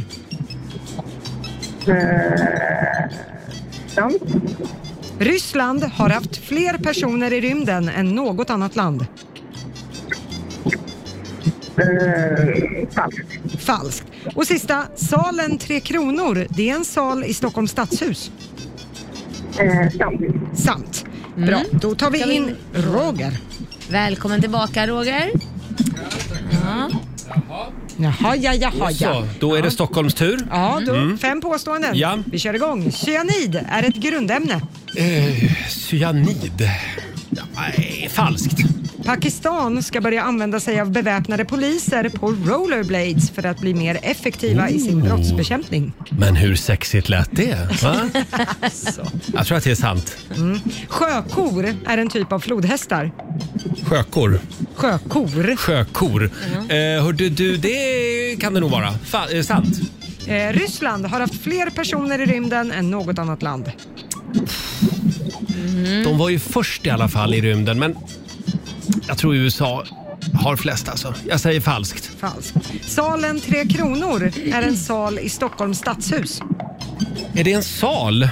S18: Eh, Sant. Ryssland har haft fler personer i rymden än något annat land. Eh, falskt. Falskt. Och sista, salen Tre Kronor, det är en sal i Stockholms stadshus. Eh, sant. Sant. Bra,
S4: Mm.
S18: då tar
S4: Ska
S18: vi
S4: vi-
S18: in Roger.
S4: Välkommen tillbaka Roger. Ja.
S18: Jaha, ja, jaha, ja.
S1: Så, då är det Stockholms tur.
S18: Ja, då,
S1: Mm.
S18: fem påståenden.
S1: Ja.
S18: Vi kör igång. Cyanid är ett grundämne.
S1: Eh, cyanid. Nej, falskt.
S18: Pakistan ska börja använda sig av beväpnade poliser på rollerblades för att bli mer effektiva i sin
S1: Ooh.
S18: brottsbekämpning.
S1: Men hur sexigt lät det? Va? Jag tror att det är sant.
S18: Mm. Sjökor är en typ av flodhästar.
S1: Sjökor.
S18: Sjökor.
S1: Sjökor. Eh, hörde du, det kan det nog vara. Fa- eh, sant.
S18: Eh, Ryssland har haft fler personer i rymden än något annat land. Mm.
S1: De var ju först i alla fall i rymden, men jag tror USA har flest alltså. Jag säger falskt.
S18: Falskt. Salen Tre Kronor är en sal i Stockholms stadshus.
S1: Är det en sal?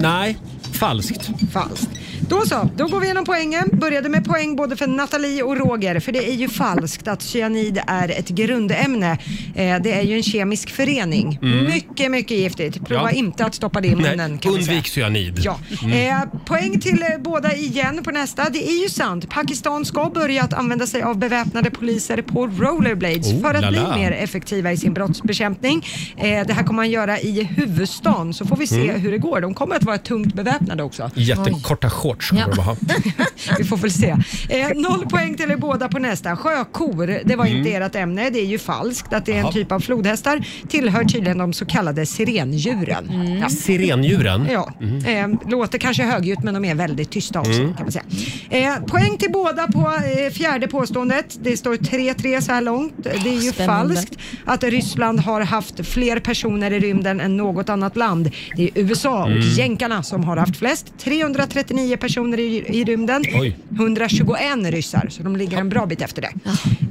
S1: Nej, falskt.
S18: Falskt. Då så, då går vi igenom poängen. Började med poäng både för Nathalie och Roger, för det är ju falskt att cyanid är ett grundämne. Eh, det är ju en kemisk förening.
S1: Mm.
S18: Mycket, mycket giftigt. Prova
S1: Ja.
S18: inte att stoppa det i munnen
S1: Nej,
S18: kan vi säga.
S1: undvik cyanid.
S18: Ja.
S1: Mm.
S18: Eh, poäng till eh, båda igen på nästa. Det är ju sant, Pakistan ska börja att använda sig av beväpnade poliser på rollerblades
S2: Oh,
S18: för att
S2: la
S18: bli
S2: la.
S18: mer effektiva i sin brottsbekämpning. Eh, det här kommer man göra i huvudstaden så får vi se
S1: Mm.
S18: hur det går. De kommer att vara tungt beväpnade också.
S1: Jättekorta shorts kommer
S18: Ja.
S1: de ha.
S18: Vi får väl se. Eh, noll poäng till er båda på nästa. Sjökor, det var inte
S1: Mm.
S18: ert ämne. Det är ju falskt att det är en
S1: Jaha.
S18: typ av flodhästar. Tillhör tydligen de så kallade sirendjuren. Ja.
S1: Mm. Sirendjuren?
S18: Ja.
S1: Mm.
S18: Eh, låter kanske högljutt men de är väldigt tysta också
S1: Mm.
S18: kan man säga. Eh, poäng till båda på eh, fjärde påståendet. Det står 3-3 så här långt. Det är ju
S4: Spännande.
S18: falskt att Ryssland har haft fler personer i rymden än något annat land. Det är USA och
S2: Mm.
S18: jänkarna som har haft flest. 339 personer i, i rymden.
S2: Oj.
S18: 121 ryssar, så de ligger en bra bit efter det.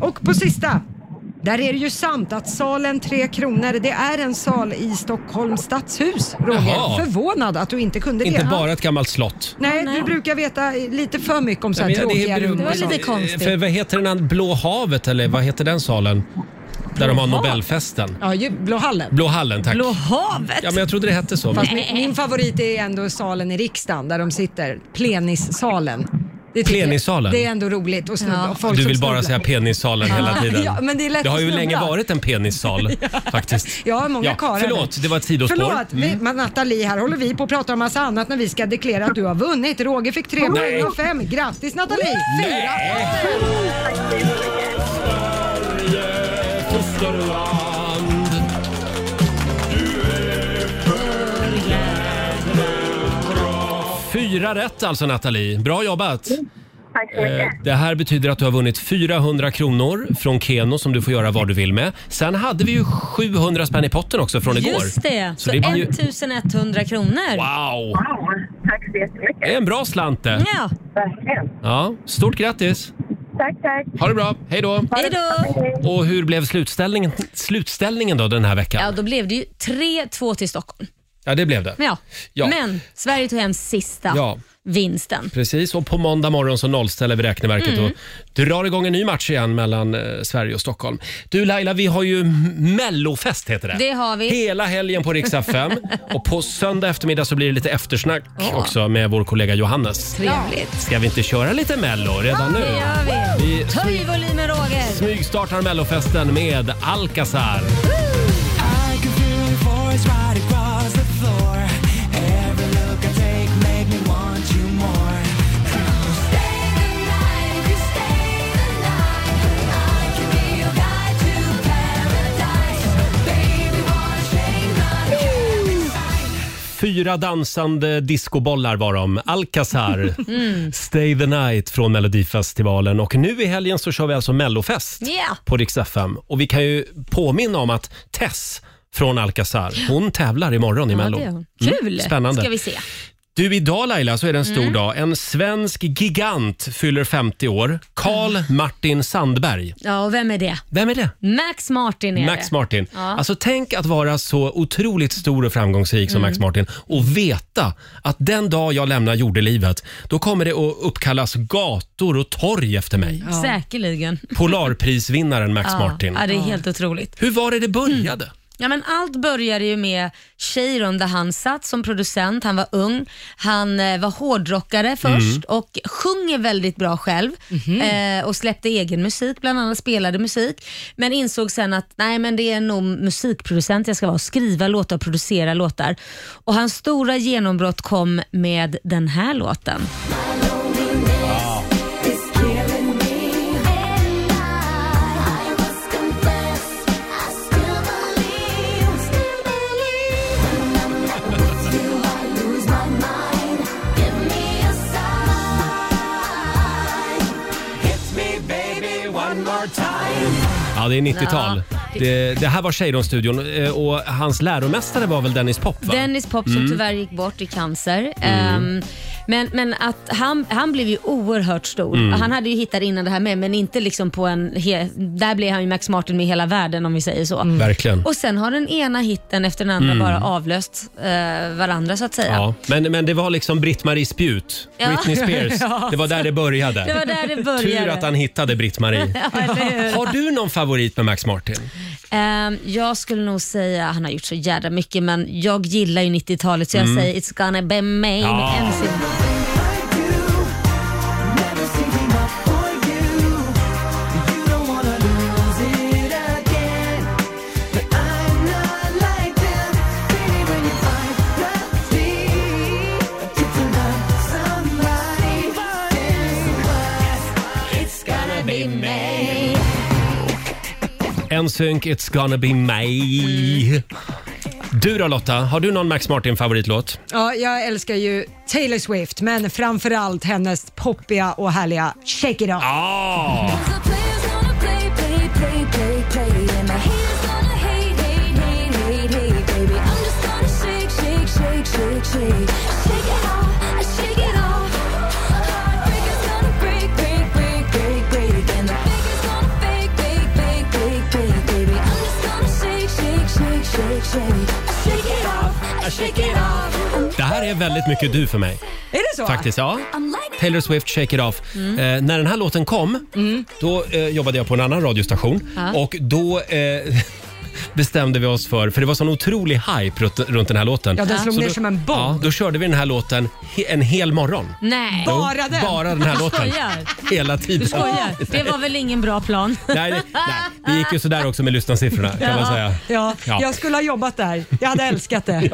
S18: Och på sista. Där är det ju sant att salen Tre Kronor, det är en sal i Stockholms stadshus, Roger.
S1: Jaha.
S18: Förvånad att du inte kunde det.
S1: Inte bara ett gammalt slott.
S18: Nej, du brukar veta lite för mycket om så här
S1: Ja, men
S18: tråkiga
S1: beror-
S18: rum. och sånt.
S1: Eh, För vad heter den här Blå havet eller vad heter den salen? Där de har
S18: Blå hav?
S1: Nobelfesten.
S18: Ja, ju, Blå hallen.
S1: Blå hallen, tack.
S18: Blå havet?
S1: Ja, men jag trodde det hette så. Men...
S18: Fast min, min favorit är ändå salen i riksdagen där de sitter, plenissalen. Det tycker jag.
S1: Plenissalen?
S18: Det är ändå roligt och snubbla. och folk
S1: Du
S18: som
S1: vill bara
S18: snubblar.
S1: säga penissalen hela
S18: Ja,
S1: tiden.
S18: men det är lätt
S1: har
S18: att
S1: ju länge
S18: snubbla.
S1: varit en penissal faktiskt.
S18: Ja, många karlar.
S1: Förlåt, det var ett sidospår.
S18: Förlåt,
S1: Mm.
S18: vi, men Nathalie, här håller vi på att prata om massa annat när vi ska deklarera att du har vunnit. Roger fick tre
S2: Nej.
S18: poäng och fem. Grattis Nathalie! Fyra
S1: Fyra rätt alltså Nathalie. Bra jobbat!
S6: Tack så
S1: Eh,
S6: mycket.
S1: Det här betyder att du har vunnit 400 kronor från Keno som du får göra vad du vill med. Sen hade vi ju 700 spänn i potten också från igår.
S4: Just det, så,
S1: Så det blir ju
S4: 1100 kronor.
S1: Wow!
S6: Tack så jättemycket.
S1: det är en bra slant det.
S4: Ja.
S1: Ja, stort grattis!
S6: Tack, tack.
S1: Ha det bra, hej då!
S4: Hej då!
S1: Och hur blev slutställningen, slutställningen då den här
S4: Ja,
S1: veckan?
S4: då blev det ju 3-2 till Stockholm.
S1: Ja, det blev det.
S4: Men, ja.
S1: Ja.
S4: Men Sverige tog hem sista
S1: Ja.
S4: vinsten.
S1: Precis, och på måndag morgon så nollställer vi räkneverket
S4: Mm.
S1: och drar igång en ny match igen mellan eh, Sverige och Stockholm. Du Laila, vi har ju m- mellofest heter det.
S4: Det har vi.
S1: Hela helgen på riksdag 5 och på söndag eftermiddag så blir det lite eftersnack
S4: Ja.
S1: också med vår kollega Johannes.
S4: Trevligt.
S1: Ska vi inte köra lite mello redan nu?
S4: Det gör vi.
S1: Vi
S4: Höj volymen Roger.
S1: smygstartar mellofesten med Alcazar.
S2: I can feel your voice right across the floor. Every look I take made me want you more.
S1: Fyra dansande discobollar var de. Alcazar,
S4: Mm.
S1: Stay the night från Melodifestivalen och nu i helgen så kör vi alltså mellofest.
S4: Ja.
S1: på Rix FM. Och vi kan ju påminna om att Tess från Alcazar, hon tävlar imorgon i
S4: Ja,
S1: Mello.
S4: det gör hon.
S1: Mm,
S4: Kul
S1: spännande.
S4: ska vi se.
S1: Du, idag Laila så är det en stor
S4: Mm.
S1: dag. En svensk gigant fyller 50 år. Carl
S4: Mm.
S1: Martin Sandberg.
S4: Ja, och vem är det?
S1: Vem är det?
S4: Max Martin är
S1: Max
S4: det.
S1: Martin.
S4: Ja.
S1: Alltså tänk att vara så otroligt stor och framgångsrik som
S4: Mm.
S1: Max Martin och veta att den dag jag lämnar jordelivet, då kommer det att uppkallas gator och torg efter mig.
S4: Säkerligen.
S1: Polarprisvinnaren Max
S4: ja.
S1: Martin.
S4: Ja, det är helt otroligt. Mm.
S1: Hur var det det började?
S4: Ja, men allt började ju med Cheiron där han satt som producent. Han var ung, han eh, var hårdrockare först och sjunger väldigt bra själv eh, och släppte egen musik, bland annat spelade musik. Men insåg sen att nej, men det är nog musikproducent jag ska vara, skriva låtar, producera låtar. Och hans stora genombrott kom med den här låten.
S1: Ja, det är 90-tal.
S4: Ja.
S1: Det, det här var Shadon-studion eh, och hans läromästare var väl Dennis Pop? Va?
S4: Dennis Pop som
S1: Mm.
S4: tyvärr gick bort i cancer.
S1: Mm.
S4: Ehm, Men, men att han, han blev ju oerhört stor.
S19: Mm.
S4: Han hade ju hittat innan det här med, men inte liksom på en... He, där blev han ju Max Martin med hela världen om vi säger så.
S1: Mm. Verkligen.
S4: Och sen har den ena hitten efter den andra
S1: Mm.
S4: bara avlöst eh, varandra så att säga.
S1: Ja, men, men det var liksom Britt-Marie Spjut,
S4: Ja.
S1: Britney Spears.
S4: Ja.
S1: Det var där det började.
S4: Det var där det började.
S1: Tur att han hittade Britt-Marie.
S4: Ja, eller hur?
S1: Har du någon favorit med Max Martin?
S4: Ehm, jag skulle nog säga, han har gjort så jävla mycket men jag gillar ju 90-talet så jag
S1: Mm.
S4: säger It's gonna be me
S1: Ja.
S4: med MC.
S1: NSYNC, It's gonna be me. Du då Lotta, har du någon Max Martin-favoritlåt?
S18: Ja, jag älskar ju Taylor Swift, men framförallt hennes poppiga och härliga Shake It Off.
S1: Ja! Det här är väldigt mycket du för mig.
S18: Är det så? Mm.
S1: Faktiskt, ja. Taylor Swift, Shake It Off. Eh, när den här låten kom, då eh, jobbade jag på en annan radiostation
S3: Ja.
S1: och då eh, bestämde vi oss för, för det var sån otrolig hype runt, runt den här låten.
S18: Ja, den slog
S1: Så
S18: ner
S1: då-
S18: som en bomb. Mm.
S1: Ja, då körde vi den här låten he, en hel morgon.
S4: Nej.
S1: Jo, Bara den? bara den här
S4: Du
S1: låten.
S4: skojar.
S1: Hela tiden.
S4: Du skojar. Det var väl ingen bra plan?
S1: typ. Nej, det- nej. Det gick ju sådär också med lyssnarsiffrorna kan man säga.
S18: Ja,
S1: Ja.
S18: jag skulle ha jobbat där. Jag hade älskat det.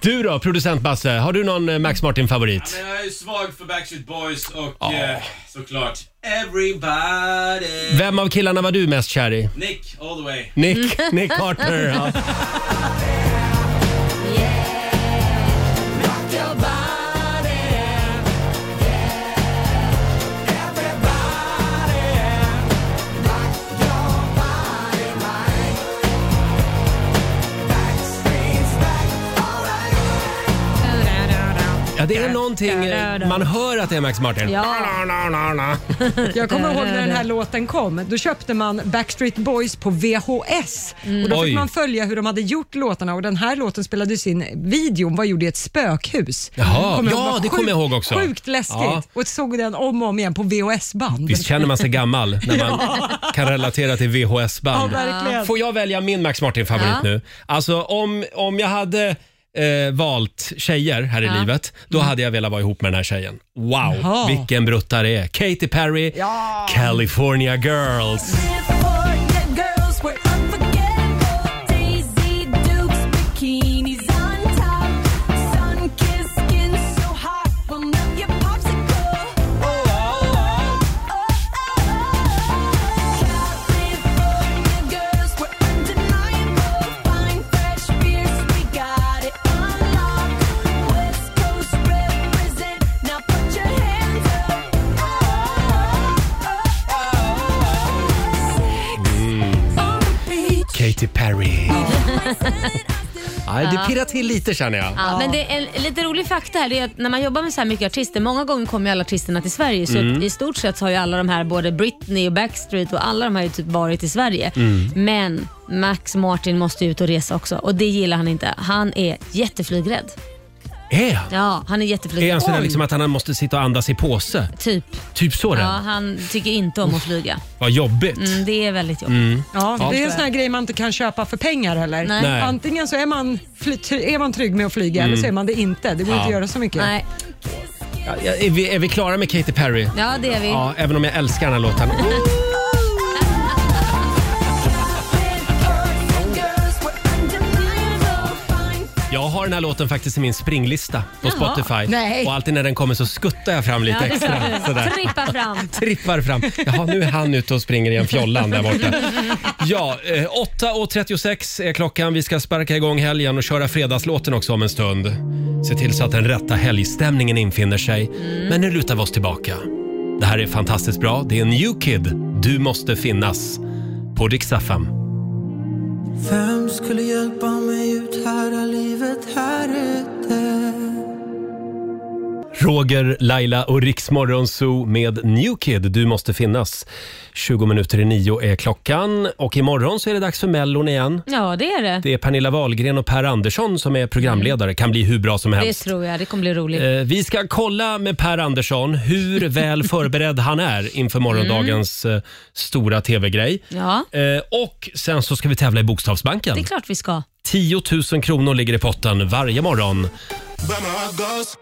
S1: Du då, producent Basse, har du någon eh, Max Martin-favorit?
S7: Jag är ju svag för Backstreet Boys och eh, såklart Everybody.
S1: Vem av killarna var du mest kär i?
S7: Nick all the way.
S1: Nick, Nick Carter. Ja. Ja, det är någonting eh, man hör att det är Max Martin.
S18: Ja. Jag kommer ihåg när den här låten kom. Då köpte man Backstreet Boys på VHS. Och då
S1: Mm. Oj.
S18: fick man följa hur de hade gjort låtarna och den här låten spelades in, videon var gjord i ett spökhus.
S1: Jaha,
S18: Kommer jag
S1: ja,
S18: ihåg, var
S1: det kommer jag ihåg också.
S18: Sjukt läskigt.
S1: Ja.
S18: Och såg den om och om igen på VHS-band.
S1: Visst känner man sig gammal när man kan relatera till VHS-band.
S18: Ja, verkligen.
S1: Får jag välja min Max Martin-favorit
S18: Ja.
S1: nu? Alltså om, om jag hade eh, valt tjejer här i
S18: Ja.
S1: livet, då hade jag velat vara ihop med den här tjejen. Wow,
S3: Jaha.
S1: vilken bruttare det är. Katy Perry, California Girls. Mm. Katy Perry. Nej, det
S4: Ja.
S1: pirrar till lite känner jag.
S4: Ja, men det är en lite rolig fakta här det är att när man jobbar med så här mycket artister, många gånger kommer ju alla artisterna till Sverige så
S1: Mm.
S4: att i stort sett har ju alla de här, både Britney och Backstreet och alla de här har ju typ varit i Sverige.
S1: Mm.
S4: Men Max Martin måste ju ut och resa också och det gillar han inte. Han är jätteflygrädd.
S1: Är han?
S4: Ja, han är jätteflygrädd.
S1: Är han sådär
S4: Oj.
S1: liksom att han måste sitta och andas i påse?
S4: Typ.
S1: Typ så
S4: Ja,
S1: den.
S4: han tycker inte om att flyga.
S1: Vad jobbigt.
S4: Mm, det är väldigt jobbigt.
S1: Mm.
S18: Ja,
S1: Ja.
S18: Det är en sån här grej man inte kan köpa för pengar heller.
S1: Nej. Nej.
S18: Antingen så är man, fly, är man trygg med att flyga
S1: Mm.
S18: eller så är man det inte. Det går
S1: Ja.
S18: inte att göra så mycket.
S4: Nej.
S1: Ja, ja, är, vi, är vi klara med Katy Perry?
S4: Ja, det är vi.
S1: Ja, även om jag älskar den här låten. Jag har den här låten faktiskt i min springlista på
S4: Jaha.
S1: Spotify.
S4: Nej.
S1: Och alltid när den kommer så skuttar jag fram lite
S4: Ja, det
S1: extra.
S4: sa du.
S1: Sådär.
S4: Trippa fram.
S1: Trippar fram. Jaha, nu är han ute och springer i en fjollan där borta. Ja, eh, 8.36 är klockan. Vi ska sparka igång helgen och köra fredagslåten också om en stund. Se till så att den rätta helgstämningen infinner sig. Men nu lutar vi oss tillbaka. Det här är fantastiskt bra. Det är New Kid, Du måste finnas, på Rix FM.
S3: Vem skulle hjälpa mig ut här, är livet här ute?
S1: Roger, Laila och Riksmorgon Zoo med New Kid, Du måste finnas. 20 minuter i nio är klockan och imorgon så är det dags för Mellon igen.
S4: Ja, det är det.
S1: Det är Pernilla Wahlgren och Per Andersson som är programledare. Kan bli hur bra som
S4: Det
S1: helst.
S4: tror jag. Det kommer bli roligt.
S1: Eh, Vi ska kolla med Per Andersson hur väl förberedd han är inför morgondagens
S4: Mm.
S1: eh, stora tv-grej.
S4: Ja,
S1: Eh, Och sen så ska vi tävla i Bokstavsbanken.
S4: det är klart vi ska.
S1: 10 000 kronor ligger i potten varje morgon.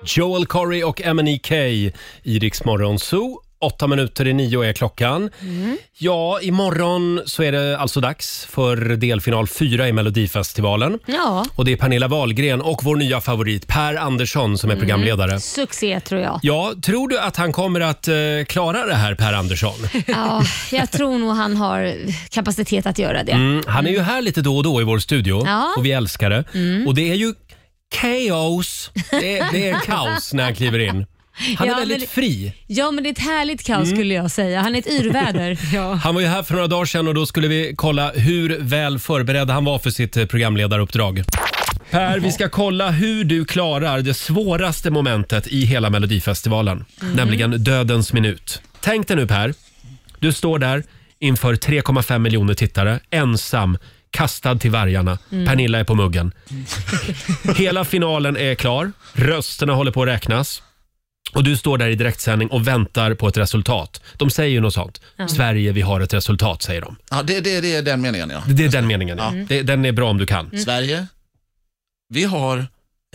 S1: Joel Corey och MNEK i Rix Morgon Zoo. Åtta minuter i nio är klockan.
S4: Mm.
S1: Ja, imorgon så är det alltså dags för delfinal fyra i Melodifestivalen.
S4: Ja.
S1: Och det är Pernilla Wahlgren och vår nya favorit Per Andersson som är programledare.
S4: Mm. Succé tror jag.
S1: Ja, tror du att han kommer att eh, klara det här Per Andersson?
S4: Ja, jag tror nog han har kapacitet att göra det.
S1: Mm, han är ju här lite då och då i vår studio
S4: Ja.
S1: och vi älskar det.
S4: Mm.
S1: Och det är ju kaos. Det är, det är kaos när han kliver in. Han
S4: Ja,
S1: är
S4: men
S1: väldigt
S4: det-
S1: fri.
S4: Ja, men det är ett härligt kaos
S1: Mm.
S4: skulle jag säga. Han är ett yrväder. ja.
S1: Han var ju här för några dagar sedan och då skulle vi kolla hur väl förberedd han var för sitt eh, programledaruppdrag. Per, vi ska kolla hur du klarar det svåraste momentet i hela Melodifestivalen,
S8: Mm.
S1: nämligen dödens minut. Tänk dig nu Per, du står där inför 3,5 miljoner tittare, ensam, kastad till vargarna.
S8: Mm.
S1: Pernilla är på muggen. Hela finalen är klar, rösterna håller på att räknas. Och du står där i direktsändning och väntar på ett resultat. De säger ju något sånt.
S8: Ja.
S1: Sverige, vi har ett resultat, säger de.
S8: Ja, det, det, det är den meningen ja.
S1: Det är den meningen. Ja.
S8: Mm.
S1: Det, den är bra om du kan.
S8: Sverige, vi har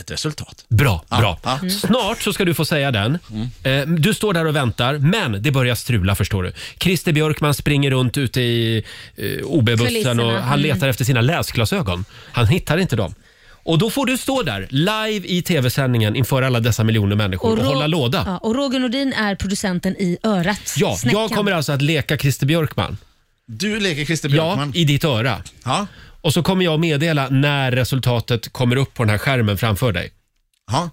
S8: ett resultat.
S1: Bra,
S8: Ja,
S1: bra.
S8: ja. Mm.
S1: Snart så ska du få säga den. Eh, Du står där och väntar, men det börjar strula förstår du. Christer Björkman springer runt ute i eh, OB-bussen
S8: Kulisserna,
S1: och
S8: mm.
S1: han letar efter sina läsglasögon. Han hittar inte dem. Och då får du stå där, live i tv-sändningen inför alla dessa miljoner människor och,
S4: Ro-
S1: hålla låda.
S4: Ja, och Roger Nordin är producenten i örat.
S1: Ja,
S4: Snäckan.
S1: jag kommer alltså att leka Christer Björkman.
S8: Du leker Christer
S1: Björkman? Ja, i ditt öra. Och så kommer jag meddela när resultatet kommer upp på den här skärmen framför dig.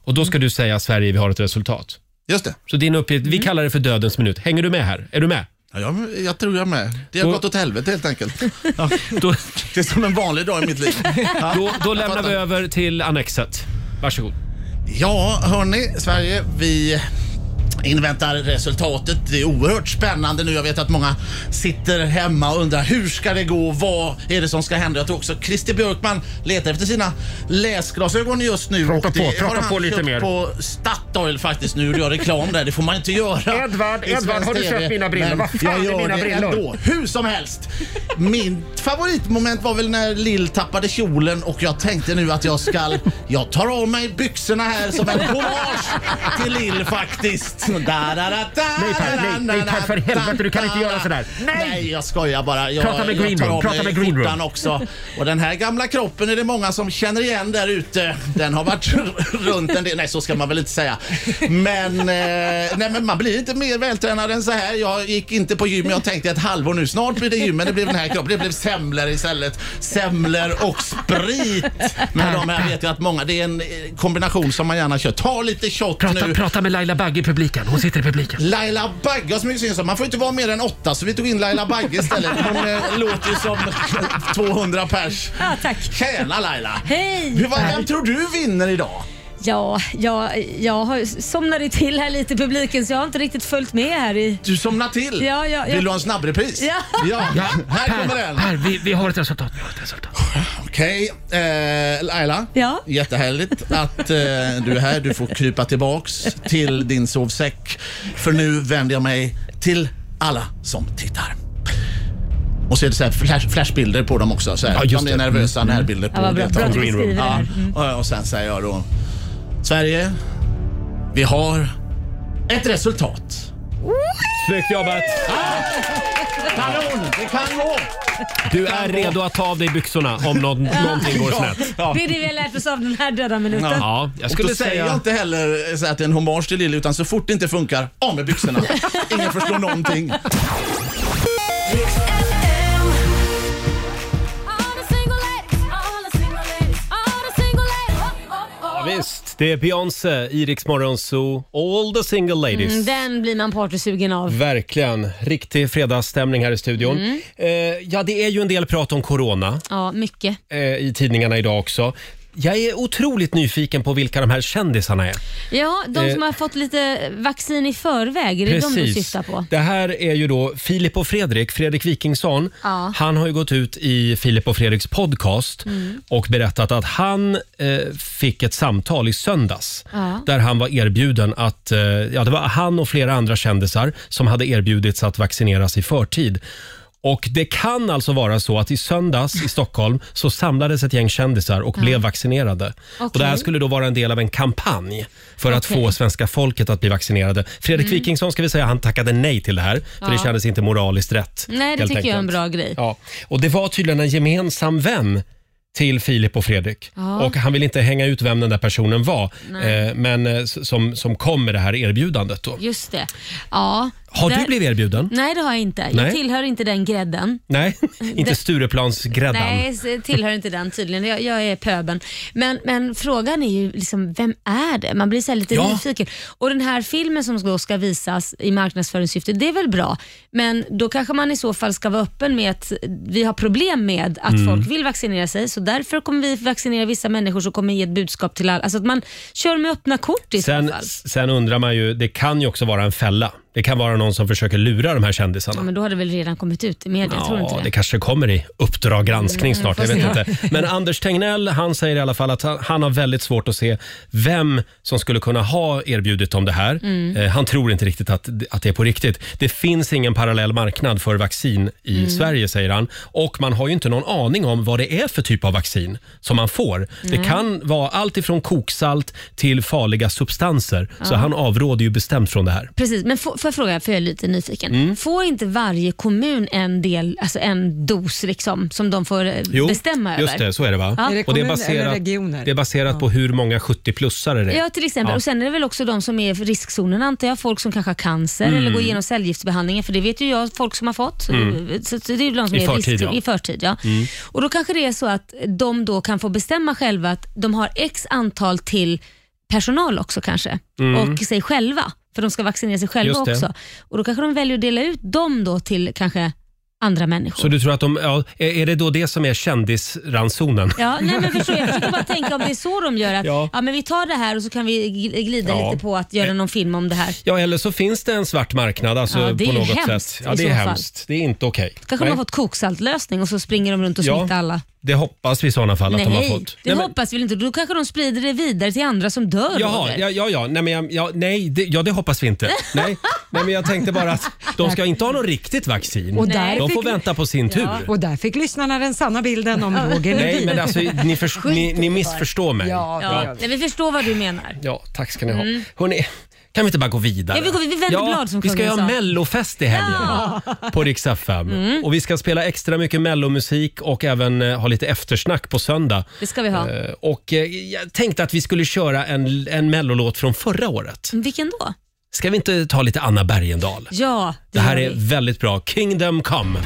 S1: Och då ska du säga Sverige, vi har ett resultat.
S8: Just det. Mm.
S1: Så din uppgift, vi kallar det för dödens minut. Hänger du med här? Är du med?
S8: Ja, jag, jag tror jag är med. Det har
S1: Då-
S8: gått åt helvete helt enkelt.
S1: Då,
S8: Det är som en vanlig dag i mitt liv. Ja.
S1: då, då
S8: Jag
S1: lämnar vi
S8: fattar.
S1: över till annexet. Varsågod.
S8: Ja, hörni, Sverige, vi inväntar resultatet. Det är oerhört spännande nu. Jag vet att många sitter hemma och undrar hur ska det gå? Vad är det som ska hända? Jag tror också Christer Björkman letar efter sina läsglasögon just nu.
S1: Prata
S8: Och
S1: på,
S8: har
S1: prata
S8: han
S1: på lite
S8: köpt
S1: mer.
S8: på Statoil faktiskt nu och gör reklam där. Det får man inte göra.
S1: Edvard,
S8: i
S1: Edvard,
S8: svensk
S1: har du
S8: TV.
S1: köpt mina brillor?
S8: Men
S1: Vad fan
S8: jag
S1: är
S8: gör
S1: mina
S8: det
S1: brillor?
S8: Ändå. Hur som helst. Mitt favoritmoment var väl när Lill tappade kjolen och jag tänkte nu att jag ska... Jag tar av mig byxorna här som en hommage till Lill faktiskt. Da, da, da, da,
S1: Nej, Per, nej, nej, Per, för helvete, du kan inte göra sådär.
S8: Nej! nej, jag skojar bara. Jag,
S1: Prata med Green
S8: jag tar
S1: Room,
S8: av
S1: prata
S8: mig
S1: med Green Room.
S8: skjortan också. Och den här gamla kroppen är det många som känner igen där ute. Den har varit runt en del. Nej, så ska man väl inte säga. Men, eh, nej, men man blir inte mer vältränad än så här. Jag gick inte på gym. Jag tänkte ett halvår nu. Snart blir det gym, men det blev den här kroppen. Det blev semlor istället. Semlor och sprit. Men de här vet jag att många, det är en eh, kombination som man gärna kör. Ta lite shot
S1: Prata,
S8: nu.
S1: prata med Laila Bagge i publiken. Hon sitter i publiken.
S8: Laila Bagge har så mycket synd om. Man får inte vara mer än åtta så vi tog in Laila Bagge istället. Hon eh, låter ju som 200 pers.
S4: Ja, tack.
S8: Tjena Laila!
S4: Hej!
S8: Hur, vad, vem tror du vinner idag?
S4: Ja, jag, jag har somnade till här lite i publiken så jag har inte riktigt följt med här i...
S8: Du somnar till?
S4: Ja, ja, ja.
S8: Vill du ha en snabbrepris?
S4: Ja.
S8: Här
S1: Per,
S8: kommer den.
S1: Per, vi, vi har ett resultat. Vi har ett resultat.
S8: Okej, eh, Laila.
S4: Ja?
S8: Jättehärligt att eh, du är här. Du får krypa tillbaks till din sovsäck. För nu vänder jag mig till alla som tittar. Och så är det så här flash, flashbilder på dem också. Så här.
S1: Ja, just
S8: De är
S1: det.
S8: nervösa
S1: Mm.
S8: närbilder på
S4: Ja, vad bra. Bra att du
S8: deltagarna.
S4: beskriver det här.
S8: Ja, och- och sen säger jag då. Sverige, vi har ett resultat.
S1: Snyggt jobbat!
S8: Kanon, det kan gå!
S1: Du är redo att ta av dig byxorna om nå- Mm. någonting går
S8: Ja.
S1: snett.
S8: Ja.
S4: Det är det vi har lärt oss av den här döda minuten.
S1: Ja, jag
S8: och
S1: skulle
S8: då säger
S1: säga-
S8: jag inte heller så att det är en hommage till Lille utan så fort det inte funkar, av med byxorna. Ingen förstår någonting.
S1: Ja, visst, det är Beyoncé, Iriks morgonzoo, All the single ladies.
S4: Mm, den blir man partysugen av.
S1: Verkligen. Riktig fredagsstämning här i studion.
S4: Mm.
S1: Eh, ja, det är ju en del prat om corona
S4: Ja, mycket.
S1: eh, i tidningarna idag också. Jag är otroligt nyfiken på vilka de här kändisarna är.
S4: Ja, de som
S1: Eh.
S4: har fått lite vaccin i förväg, är det de du syftar på?
S1: Det här är ju då Filip och Fredrik, Fredrik Wikingsson.
S4: Ja.
S1: Han har ju gått ut i Filip och Fredriks podcast
S4: Mm.
S1: och berättat att han eh, fick ett samtal i söndags
S4: Ja.
S1: där han var erbjuden att, eh, ja det var han och flera andra kändisar som hade erbjudits att vaccineras i förtid. Och Det kan alltså vara så att i söndags i Stockholm så samlades ett gäng kändisar och
S4: Ja.
S1: blev vaccinerade. Och Det här
S4: Okej.
S1: skulle då vara en del av en kampanj för att
S4: Okej.
S1: få svenska folket att bli vaccinerade. Fredrik
S4: Mm.
S1: Wikingsson ska vi säga, han tackade nej till det här, för det
S4: Ja.
S1: kändes inte moraliskt rätt.
S4: Nej, det
S1: helt
S4: tycker jag är en
S1: enkelt.
S4: bra grej.
S1: Ja. Och det var tydligen en gemensam vän till Filip och Fredrik.
S4: Ja.
S1: Och Han vill inte hänga ut vem den där personen var,
S4: Nej.
S1: eh, men eh, s- som, som kom med det här erbjudandet. Då.
S4: Just det. Ja.
S1: Har du
S4: Där-
S1: blivit erbjuden?
S4: Nej, det har jag inte. Jag
S1: Nej.
S4: tillhör inte den grädden.
S1: Nej, inte
S4: Det-
S1: Stureplansgräddan.
S4: Nej, s- tillhör inte den tydligen. Jag, jag är pöben. Men, men frågan är ju, liksom, vem är det? Man blir så här lite
S19: Ja.
S4: nyfiken. Och Den här filmen som då ska visas i marknadsföringssyfte, det är väl bra. Men då kanske man i så fall ska vara öppen med att vi har problem med att
S19: Mm.
S4: folk vill vaccinera sig, så därför kommer vi vaccinera vissa människor som kommer ge ett budskap till alla. Alltså att man kör med öppna kort i så
S1: Sen,
S4: fall.
S1: sen undrar man ju, det kan ju också vara en fälla. Det kan vara någon som försöker lura de här kändisarna.
S4: Ja, men då har det väl redan kommit ut i media, tror du inte
S1: Ja,
S4: det?
S1: det kanske kommer i Uppdrag granskning
S4: Mm,
S1: snart. Jag
S4: får
S1: vet
S4: se.
S1: inte. Men Anders Tegnell han säger i alla fall att han, han har väldigt svårt att se vem som skulle kunna ha erbjudit dem det här.
S4: Mm.
S1: Eh, han tror inte riktigt att, att det är på riktigt. Det finns ingen parallell marknad för vaccin i
S4: Mm.
S1: Sverige, säger han. Och man har ju inte någon aning om vad det är för typ av vaccin som man får. Det
S4: Nej.
S1: kan vara allt ifrån koksalt till farliga substanser. Så
S4: Ja.
S1: han avråder ju bestämt från det här.
S4: Precis, men får får jag fråga, för jag är lite nyfiken.
S1: Mm.
S4: Får inte varje kommun en del, alltså en dos liksom, som de får eh,
S1: Jo,
S4: bestämma
S1: just
S4: över?
S1: det. Så är det va?
S4: Ja.
S1: Och det är baserat, det är baserat på hur många 70-plussare det är.
S4: Ja, till exempel.
S1: Ja.
S4: Och Sen är det väl också de som är i riskzonen antar jag. Folk som kanske har cancer
S1: Mm.
S4: eller går igenom cellgiftsbehandlingar, för det vet ju jag folk som har fått.
S1: Mm.
S4: Så så det är ju de som
S1: I
S4: är i
S1: förtid,
S4: riskzon-
S1: ja.
S4: i förtid. Ja.
S1: Mm.
S4: Och Då kanske det är så att de då kan få bestämma själva att de har x antal till personal också kanske
S19: Mm.
S4: och sig själva, för de ska vaccinera sig själva
S1: Just det.
S4: också. Och Då kanske de väljer att dela ut dem då till kanske andra människor.
S1: Så du tror att de, ja, är- är det då det som är kändisransonen?
S4: Ja, nej men förstår, jag försöker bara tänka om det är så de gör. Att,
S1: Ja.
S4: ja. men vi tar det här och så kan vi gl- glida
S1: Ja. Eh.
S4: lite på att göra någon film om det här.
S1: Ja, eller så finns det en svart marknad alltså,
S4: Ja, det är
S1: på
S4: ju
S1: något
S4: hemskt
S1: sätt. Ja,
S4: i
S1: det är
S4: så fall.
S1: hemskt. Det är inte okej.
S4: Kanske de
S1: Nej,
S4: har fått koksaltlösning och så springer de runt och
S1: Ja.
S4: smittar alla.
S1: Det hoppas vi i sådana fall att de har
S4: nej,
S1: fått.
S4: det
S1: Nej, men-
S4: hoppas vi inte. Då kanske de sprider det vidare till andra som dör.
S1: Jaha,
S4: Roger.
S1: ja, ja, ja. Nej, men, jag- ja, nej det, ja, det hoppas vi inte. Nej, nej, men jag tänkte bara att de ska inte ha något riktigt vaccin.
S18: Och där
S1: de får
S18: fick-
S1: vänta på sin tur.
S18: Och där fick lyssnarna den sanna bilden om Roger
S1: Nej,
S18: Nordin.
S1: men alltså, ni, förs- ni, ni missförstår mig.
S18: Ja, det
S4: Ja. Nej, vi förstår vad du menar.
S1: Ja, tack ska ni ha.
S4: Mm.
S1: Hörrni, kan vi inte bara gå vidare?
S4: Ja, vi går- vi vänder blad, som
S1: Vi ska ju
S4: kungen
S1: ha
S4: sa.
S1: mellofest i helgen
S4: Ah!
S1: på Rix FM.
S4: Mm.
S1: Och vi ska spela extra mycket mellomusik och även eh, ha lite eftersnack på söndag.
S4: Det ska vi ha.
S1: Eh, och eh, jag tänkte att vi skulle köra en, en mellolåt från förra året.
S4: Vilken då?
S1: Ska vi inte ta lite Anna Bergendahl?
S4: Ja,
S1: Det här
S4: gör
S1: är
S4: vi.
S1: väldigt bra. Kingdom come.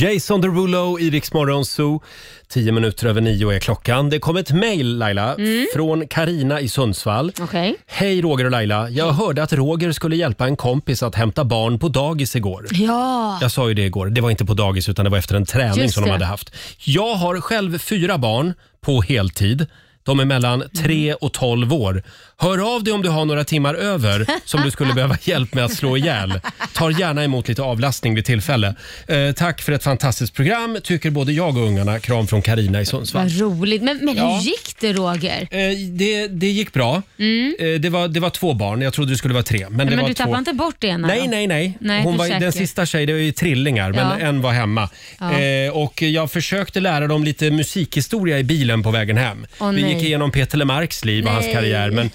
S1: Jason Derulo i Rix Morgon Zoo. Tio minuter över nio är klockan. Det kom ett mejl Laila från Karina i Sundsvall.
S4: Mm. Okej.
S1: Hej Roger och Laila. Jag hörde att Roger skulle hjälpa en kompis att hämta barn på dagis igår.
S4: Ja.
S1: Jag sa ju det igår. Det var inte på dagis utan det var efter en träning
S4: Just
S1: som de
S4: det.
S1: hade haft. Jag har själv fyra barn på heltid. De är mellan 3
S4: Mm.
S1: och 12 år. Hör av dig om du har några timmar över som du skulle behöva hjälp med att slå ihjäl. Tar gärna emot lite avlastning vid tillfälle. Eh, tack för ett fantastiskt program, tycker både jag och ungarna. Kram från Karina i Sundsvall.
S4: Vad roligt. Men, men
S1: Ja. Eh,
S4: hur gick det Roger?
S1: Det, det gick bra.
S4: Mm.
S1: Eh, det, var, det var två barn, jag trodde det skulle vara tre. Men, det
S4: Men,
S1: var
S4: du
S1: två.
S4: tappade inte bort det ena?
S1: Nej,
S4: då?
S1: nej, nej.
S4: Nej,
S1: Hon
S4: du
S1: var,
S4: är
S1: den
S4: säker.
S1: sista tjejen, det var ju trillingar, men
S4: Ja.
S1: en var hemma.
S4: Ja.
S1: Eh, och jag försökte lära dem lite musikhistoria i bilen på vägen hem.
S4: Åh,
S1: Vi
S4: nej.
S1: gick igenom Peter Lemarks liv och hans
S4: Nej.
S1: karriär, men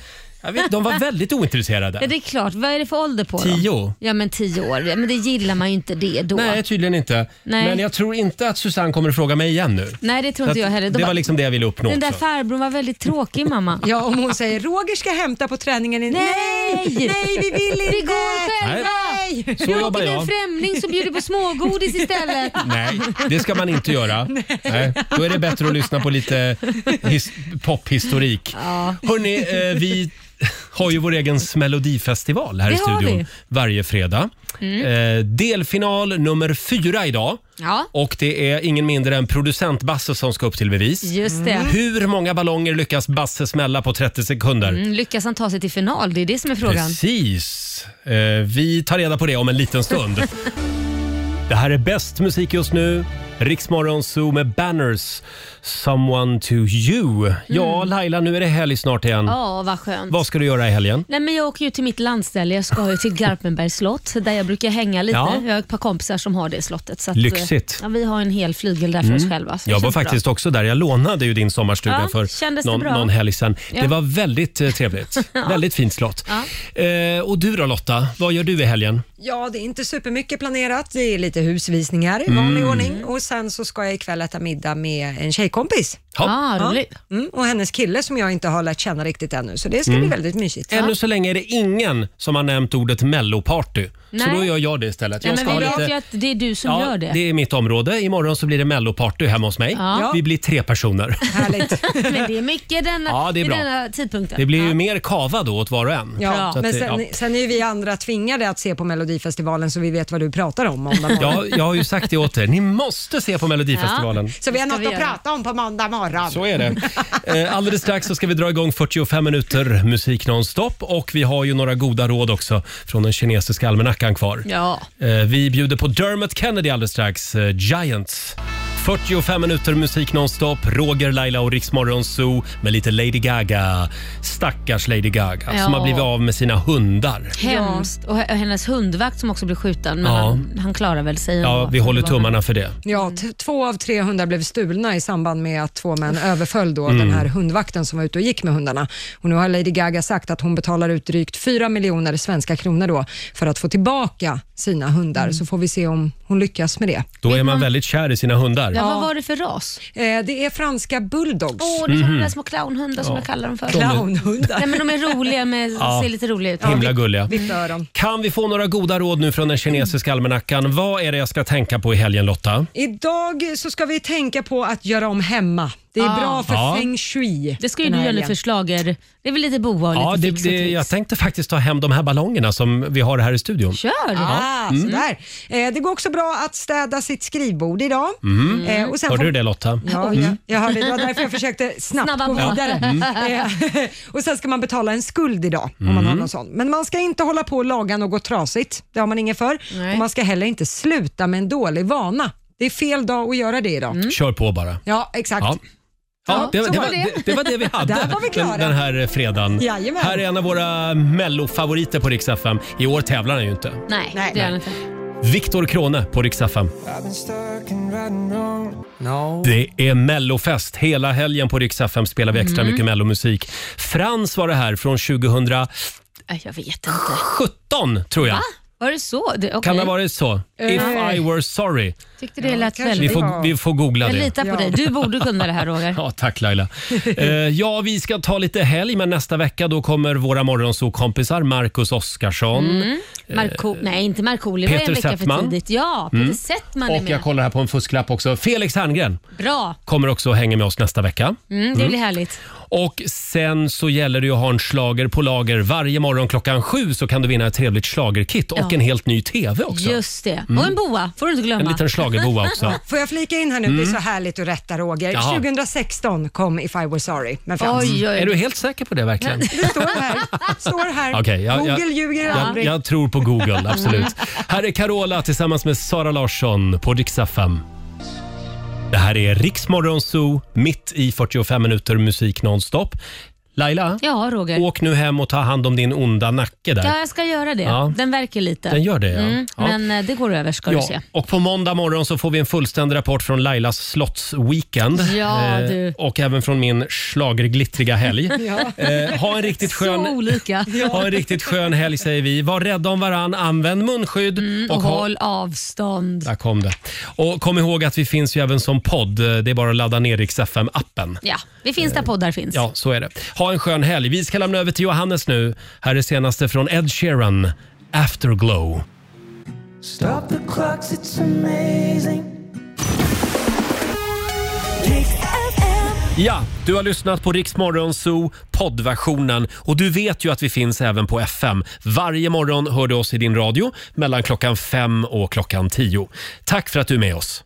S1: jag vet, de var väldigt
S4: Ja,
S1: ointresserade.
S4: det är klart. Vad är det för ålder på dem?
S1: Tio.
S4: Ja, men tio år. Ja, Men det gillar man ju inte det då.
S1: Nej, tydligen inte.
S4: Nej.
S1: Men jag tror inte att Susanne kommer att fråga mig igen nu.
S4: Nej, det tror
S1: Så
S4: inte jag
S1: att
S4: heller. De
S1: det
S4: bara,
S1: var liksom det jag ville uppnå
S4: den där
S1: också.
S4: farbrorn var väldigt tråkig mamma.
S18: Ja, om hon säger Roger ska hämta på träningen. i-
S4: Nej!
S18: Nej, vi vill inte!
S4: Vi går själva!
S18: Nej.
S1: Så
S4: Roger
S1: jobbar
S4: är en
S1: jag.
S4: främling som bjuder på smågodis istället.
S1: Nej, det ska man inte göra. Nej. Då är det bättre att lyssna på lite his- pophistorik.
S4: Ja.
S1: Hörni, eh, vi... har ju vår egen melodifestival här i
S4: Det har vi.
S1: studion varje fredag.
S4: Mm.
S1: Eh, delfinal nummer fyra idag.
S4: Ja.
S1: Och det är ingen mindre än producent Basse som ska upp till bevis.
S4: Just det. Mm.
S1: Hur många ballonger lyckas Basse smälla på 30 sekunder?
S4: Mm, lyckas han ta sig till final? Det är det som är frågan.
S1: Precis. Eh, vi tar reda på det om en liten stund. det här är bäst musik just nu. Riksmorgon Zoo med Banners, Someone to you. Ja, Laila, nu är det helg snart igen.
S4: Mm. Ja, vad skönt.
S1: Vad ska du göra i helgen?
S4: Nej, men jag åker ju till mitt landställe. Jag ska ju till Garpenbergs slott där jag brukar hänga lite.
S1: Ja.
S4: Jag har ett par kompisar som har det slottet. Så att,
S1: Lyxigt.
S4: eh, Ja, vi har en hel flygel där för oss
S1: Mm.
S4: själva. så det
S1: Jag var
S4: känns bra.
S1: faktiskt också där. Jag lånade ju din sommarstuga
S4: Ja, kändes
S1: för
S4: det
S1: någon,
S4: bra?
S1: någon helg sedan.
S4: Ja.
S1: Det var väldigt eh, trevligt.
S18: Ja.
S1: Väldigt fint slott. Eh, och du då Lotta, vad gör du i helgen?
S18: Ja, det är inte supermycket planerat. Det är lite husvisningar i vanlig
S1: Mm.
S18: ordning och sen så ska jag ikväll äta middag med en tjejkompis.
S1: Ja. Ah, roligt.
S18: Mm, och hennes kille som jag inte har lärt känna riktigt ännu, så det ska bli
S1: Mm.
S18: väldigt mysigt.
S1: Ännu så länge är det ingen som har nämnt ordet melloparty. Så
S4: Nej.
S1: då gör jag det istället.
S4: Nej,
S1: Jag
S4: men
S1: ska ha
S4: vi vet
S1: lite-
S4: ju att det är du som
S1: ja,
S4: gör det.
S1: Det är mitt område. Imorgon så blir det melloparty hemma hos mig.
S4: Ja.
S1: Vi blir tre personer.
S4: men det är mycket denna,
S1: Ja, det är
S4: vid
S1: bra.
S4: denna tidpunkten.
S1: Det blir ju mer kava då åt var och en.
S18: Ja,
S1: Så att
S18: men
S1: det-
S18: sen,
S1: ja.
S18: sen är ju vi andra tvingade att se på Melodifestivalen så vi vet vad du pratar om måndag
S1: Ja,
S18: morgon.
S1: jag har ju sagt det åt er. Ni måste se på Melodifestivalen.
S18: Så vi har
S15: Ska
S18: något
S15: vi
S18: att
S15: göra.
S18: prata om på måndag morgon.
S1: Så är det. Eh, Alldeles strax så ska vi dra igång 45 minuter musik nonstop och vi har ju några goda råd också från den kinesiska almanackan kvar.
S4: Ja.
S1: Eh, Vi bjuder på Dermot Kennedy alldeles strax, eh, Giants. 45 minuter musik nonstop, Roger, Laila och Riksmorgon Zoo med lite Lady Gaga. Stackars Lady Gaga som
S4: Ja.
S1: har blivit av med sina hundar.
S4: Hemskt. Och h- hennes hundvakt som också blev skjuten, men
S1: Ja.
S4: han, han klarar väl sig
S1: Ja,
S4: ändå.
S1: vi håller tummarna för det.
S18: Ja, t- två av tre hundar blev stulna i samband med att två män överföll då
S1: Mm.
S18: den här hundvakten som var ute och gick med hundarna. Och nu har Lady Gaga sagt att hon betalar ut drygt 4 miljoner svenska kronor då för att få tillbaka sina hundar,
S1: Mm.
S18: så får vi se om hon lyckas med det.
S1: Då är man väldigt kär i sina hundar.
S4: Ja, vad var det för ras?
S18: Eh, det är franska bulldogs.
S4: Åh, det är mm.
S1: Mhm.
S4: där små clownhundar som
S1: Ja.
S4: jag kallar dem för.
S1: De är-
S18: Clownhundar?
S4: Nej, men de är roliga, med,
S1: Ja.
S4: ser lite roliga ut.
S1: Himla gulliga.
S18: öron.
S1: Kan vi få några goda råd nu från den kinesiska
S18: Mm.
S1: almanackan? Vad är det jag ska tänka på i helgen Lotta?
S18: Idag så ska vi tänka på att göra om hemma. Det är
S4: Ah.
S18: bra för
S1: Ja.
S18: feng shui.
S4: Det ska ju
S18: den
S4: du
S18: här
S4: göra nu
S18: helgen.
S4: för slager. Det är väl lite boa och
S1: Ja,
S4: lite
S1: det,
S4: fix och
S1: det,
S4: trix.
S1: jag tänkte faktiskt ta hem de här ballongerna som vi har här i studion.
S4: Kör!
S18: Ah,
S1: Mm.
S18: sådär. Eh, det går också bra att städa sitt skrivbord idag.
S1: Mm.
S18: Eh, och sen
S1: Hörde
S18: får-
S1: du det Lotta? Mm.
S18: Ja, jag, jag hörde, det var därför jag försökte snabbt
S4: Snabba
S18: gå
S4: på.
S18: vidare.
S4: Mm.
S18: Eh, och sen ska man betala en skuld idag om man har
S4: Mm.
S18: någon sån. Men man ska inte hålla på och laga något trasigt. Det har man ingen för. Och man ska heller inte sluta med en dålig vana. Det är fel dag att göra det idag.
S4: Mm.
S1: Kör på bara.
S18: Mm. Ja, exakt.
S1: Ja. Ja, det,
S18: så
S1: det,
S18: var
S1: var,
S18: det.
S1: det, det var det vi hade
S18: Där var vi klara.
S1: Den, den här eh, fredagen.
S18: Jajamän.
S1: Här är en av våra mellofavoriter på Rix FM. I år tävlar han ju inte.
S4: Nej, det gör han inte.
S1: Viktor Krone på Rix FM. Det är mellofest. Hela helgen på Rix FM spelar vi extra
S4: Mm.
S1: mycket mellomusik. Frans var det här från 2017
S4: Nej, Jag vet inte.
S1: tror jag.
S4: Var det så? Det,
S1: Kan
S4: okej.
S1: det ha varit så?
S4: Eh.
S1: If I were sorry.
S4: Tyckte det lät
S1: kanske
S4: väldigt...
S1: vi får- vi får googla
S4: jag
S1: det.
S4: Jag litar på
S1: Ja.
S4: dig. Du borde kunna det här Roger.
S1: Ja, tack Laila. Eh, ja, vi ska ta lite helg, men nästa vecka då kommer våra morgonsokompisar Marcus Oskarsson.
S4: Mm. Marco, nej, inte Markoolio. Det
S1: eh,
S4: var
S1: Peter
S4: en vecka
S1: Settman.
S4: för tidigt. Ja, Peter
S1: Mm.
S4: Settman är
S1: Och jag
S4: med.
S1: kollar här på en fusklapp också. Felix Herngren
S4: Bra.
S1: kommer också och hänger med oss nästa vecka.
S4: Mm, det
S1: Mm.
S4: blir härligt.
S1: Och sen så gäller det ju att ha en slager på lager. Varje morgon klockan sju så kan du vinna ett trevligt slagerkit och
S4: Ja.
S1: en helt ny TV också.
S4: Just det.
S1: Mm.
S4: Och en boa, får du inte glömma.
S1: En liten schlagerboa också.
S18: Får jag flika in här nu? Det är
S1: Mm.
S18: så härligt att rätta Roger.
S1: Jaha.
S18: 2016 kom If I were sorry med Frans.
S1: Är du helt säker på det verkligen?
S18: Det står här. Står här.
S1: Okej, jag, jag,
S18: Google ljuger
S1: jag,
S18: aldrig.
S1: jag tror på Google,
S18: Mm.
S1: absolut. Här är Carola tillsammans med Sara Larsson på Dixa 5. Det här är Riksmorgon Zoo, mitt i 45 minuter musik nonstop. Laila,
S4: Ja, Roger.
S1: åk nu hem och ta hand om din onda nacke där.
S4: Ja, jag ska göra det.
S1: Ja.
S4: Den verkar lite.
S1: Den gör det, ja.
S4: Mm,
S1: Ja.
S4: Men eh, det går över ska du se.
S1: Och på måndag morgon så får vi en fullständig rapport från Lailas slottsweekend.
S4: Ja,
S1: Eh,
S4: du.
S1: Och även från min schlagerglittriga helg.
S4: Ja.
S1: eh, ha en riktigt skön...
S4: Så olika.
S1: Ha en riktigt skön helg säger vi. Var rädda om varann, använd munskydd
S4: Mm, Och
S1: ha-
S4: håll avstånd.
S1: Där kom det. Och kom ihåg att vi finns ju även som podd. Det är bara att ladda ner Rix FM-appen.
S4: Ja, vi finns där poddar finns.
S1: Ja, så är det. Ha en skön helg. Vi ska lämna över till Johannes nu. Här är senaste från Ed Sheeran, Afterglow.
S3: Stop the clocks, it's amazing. Riks-FM.
S1: Ja, du har lyssnat på Riksmorgon Zoo poddversionen och du vet ju att vi finns även på FM. Varje morgon hör du oss i din radio mellan klockan fem och klockan tio. Tack för att du är med oss.